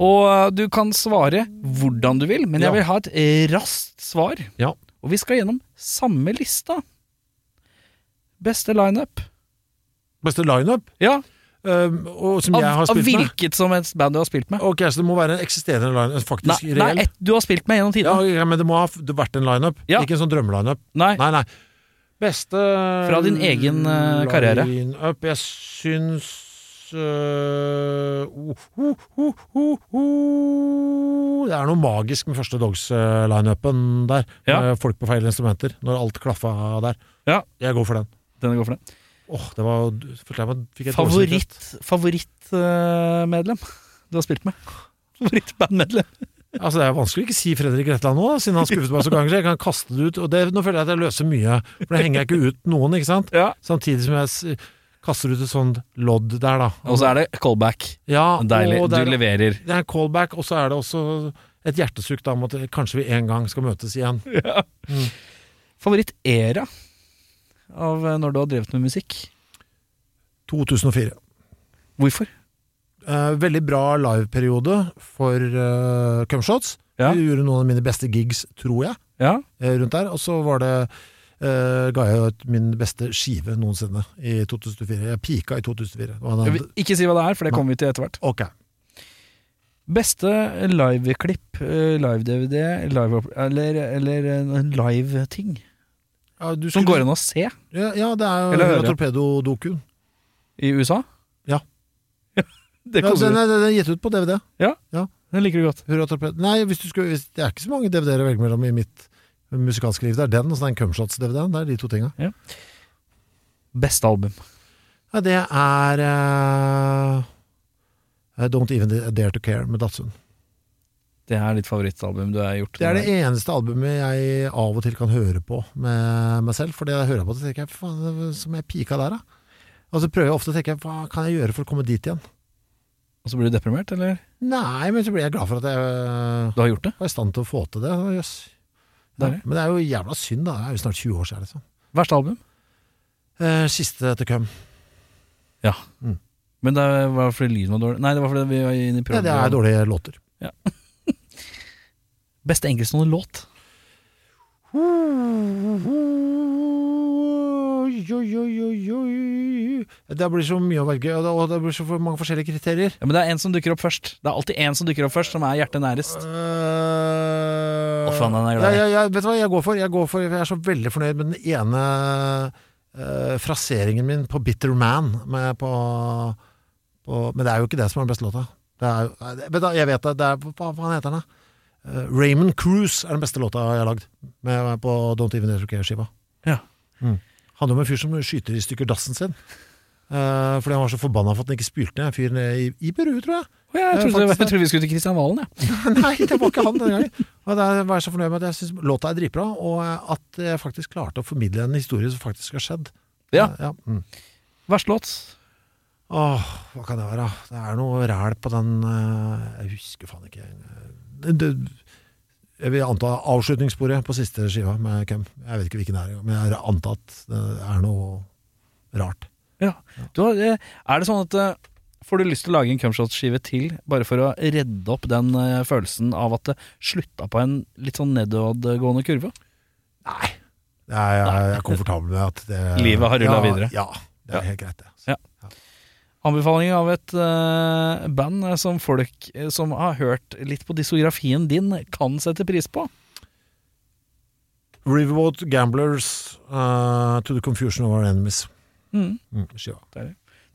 Og øh, du kan svare hvordan du vil, men jeg
Ja.
vil ha et raskt svar.
Ja.
Og vi skal gjennom samme lista. Beste lineup.
Beste lineup,
Ja,
um, og som
av,
jeg har
av
spilt med.
hvilket som helst band du har spilt med.
Ok, så det må være en eksisterende lineup,
Nei,
faktisk
nei,
reell.
ett du har spilt med gjennom
ja,
tiden.
ok, men det må ha f- vært en lineup,
Ja.
ikke en sånn drømmelineup.
Nei,
[laughs] Nei, nei. Beste
Fra din egen, eh, karriere.
Lineup, jeg syns øh, oh, oh, oh, oh, oh. Det er noe magisk med første Dogs-lineupen der.
Ja.
Med folk på feil instrumenter, når alt klaffa der.
Ja.
Jeg går for den.
denne går for det.
Åh, det var følte jeg meg, fikk jeg et dårlig samvittighet.
Favoritt favorittmedlem du har spilt med. [laughs] Favorittbandmedlem.
Altså, Det er vanskelig å ikke si Fredrik Retland nå, da, siden han skuffet meg så ganger. så Jeg kan kaste det ut. og det, Nå føler jeg at jeg løser mye, for da henger jeg ikke ut noen. ikke sant?
Ja.
Samtidig som jeg s- kaster ut et sånt lodd der, da.
Og så er det callback.
ja,
Deilig.
og det
Du
er,
leverer.
det er en callback, og så er det også et hjertesukk da, om at kanskje vi en gang skal møtes igjen.
[laughs]
Mm.
Favorittera av eh, når du har drevet med musikk.
2004.
Hvorfor?
Eh, veldig bra liveperiode for eh, Cumshots.
Ja.
Vi gjorde noen av mine beste gigs, tror jeg.
Ja.
eh, rundt der. Og så var det eh, ga jeg ut min beste skive noensinne i 2004. Jeg pika i 2004. Og
Jeg
den-
vil Ikke si hva det er, for det kommer vi til etter hvert.
Ok.
Beste liveklipp, eh, live-DVD, live eller, eller eh, en live-ting
Ja, du
som
skulle-
går an å se
Ja, ja, det er jo
Eller
Hurra
høre.
Torpedo-dokuen.
i USA.
Ja.
[laughs] Det
Ja, den,
kommer du.
er- den er gitt ut på DVD.
Den liker du godt.
Hurra Torpedo. Nei, hvis du skulle, hvis, det er ikke så mange DVD-er å velge mellom i mitt musikalske liv. Det er den og så den Cumshots-DVD-en. Det er de to tinga.
Beste album.
Ja, det er eh, I Don't Even Dare To Care med Datsun.
Det er ditt favorittalbum du har gjort?
Det er det eneste albumet jeg av og til kan høre på med meg selv. For det jeg hører på, så tenker jeg faen, det var som jeg pika der, da. Og så prøver jeg ofte å tenke hva kan jeg gjøre for å komme dit igjen?
Og så blir du deprimert, eller?
Nei, men så blir jeg glad for at jeg øh,
Du har gjort det?
var i stand til å få til det. Så, Jøss. Ja,
Deilig.
men det er jo jævla synd, da. Det er jo snart 20 år siden. Liksom.
Verste album?
Eh, siste etter Cum.
Ja.
Mm.
Men det var fordi lyden var dårlig? Nei, det var fordi vi var inne i
Ja, det er dårlige låter.
Beste enkeltstående låt?
Oi, oi, oi, oi, oi. Det blir så mye å velge, og det- og det blir så for mange forskjellige kriterier.
Ja, men det er en som dukker opp først. Det er alltid en som dukker opp først, som er hjertet nærest.
Uh,
Å, faen, den er glad i.
jeg, jeg, Vet du hva jeg går for? Jeg, går for, jeg er så veldig fornøyd med den ene eh, fraseringen min på 'Bitter Man'. Med på, på, men det er jo ikke det som er den beste låta. Det er, jo- nei, det- vet du, hva, jeg vet det, det er, hva faen heter den, da? Eh, Raymond Cruise er den beste låta jeg har lagd, med, på Don't Even Dare to Care-skiva.
Ja.
Mm. Handler om en fyr som skyter i stykker dassen sin. Eh, fordi han var så forbanna for at den ikke spylte ned. Fyren i, i Peru, tror jeg.
Å, ja, jeg,
Ja,
trodde,
faktisk
jeg
det.
trodde vi skulle til Kristian Valen, jeg.
Nei, det var ikke han denne gangen. Og der var jeg så fornøyd med at jeg synes låta er dritbra, og at jeg faktisk klarte å formidle en historie som faktisk har skjedd.
Ja.
mm.
Verste låt?
Åh, hva kan det være? Det er noe ræl på den eh, Jeg husker faen ikke. Det, det, jeg vil anta avslutningssporet på siste skiva med Kem. Jeg vet ikke hvilken det er, men jeg antar at det er noe rart.
Ja. Du, har- eh, er det sånn at eh, Får du lyst til å lage en cumshot-skive til, bare for å redde opp den eh, følelsen av at det slutta på en litt sånn nedadgående kurve?
Nei. Jeg, jeg, jeg er komfortabel med at det
Livet har rullet videre.
Ja. Det
Ja.
er helt greit, det.
Anbefaling av et eh, band eh, som folk eh, som har hørt litt på disografien din, kan sette pris på.
Riverboat Gamblers uh, To the Confusion of Our Enemies.
Mm.
Mm, skiva.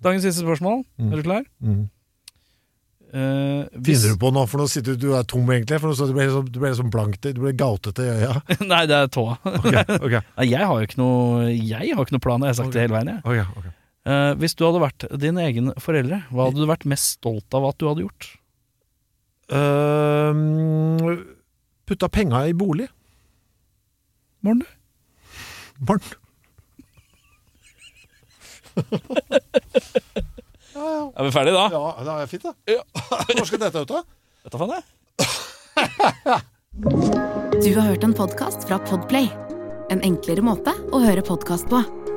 Dagens siste spørsmål.
Mm.
Er du klar?
Mm.
Eh, hvis-
Finner du på noe for noe? Sitter du du er tom, egentlig? For noe, så du ble liksom, du ble liksom blankt i- Du ble gautete i øya.
[laughs] Nei, det er tåa.
[laughs] Ok, ok,
Nei, jeg har jo ikke noe Jeg har ikke noe plan, jeg har sagt det hele veien. Jeg.
ok, ok.
Eh, hvis du hadde vært din egen foreldre, hva hadde du vært mest stolt av at du hadde gjort?
Ehm, putta penga i bolig.
Morten?
Barn. [laughs] ja, ja.
Er vi ferdige da?
ja, det er fint, det. Hvor skal dette ut, da?
Dette fant jeg.
Du har hørt en podkast fra Podplay. En enklere måte å høre podkast på.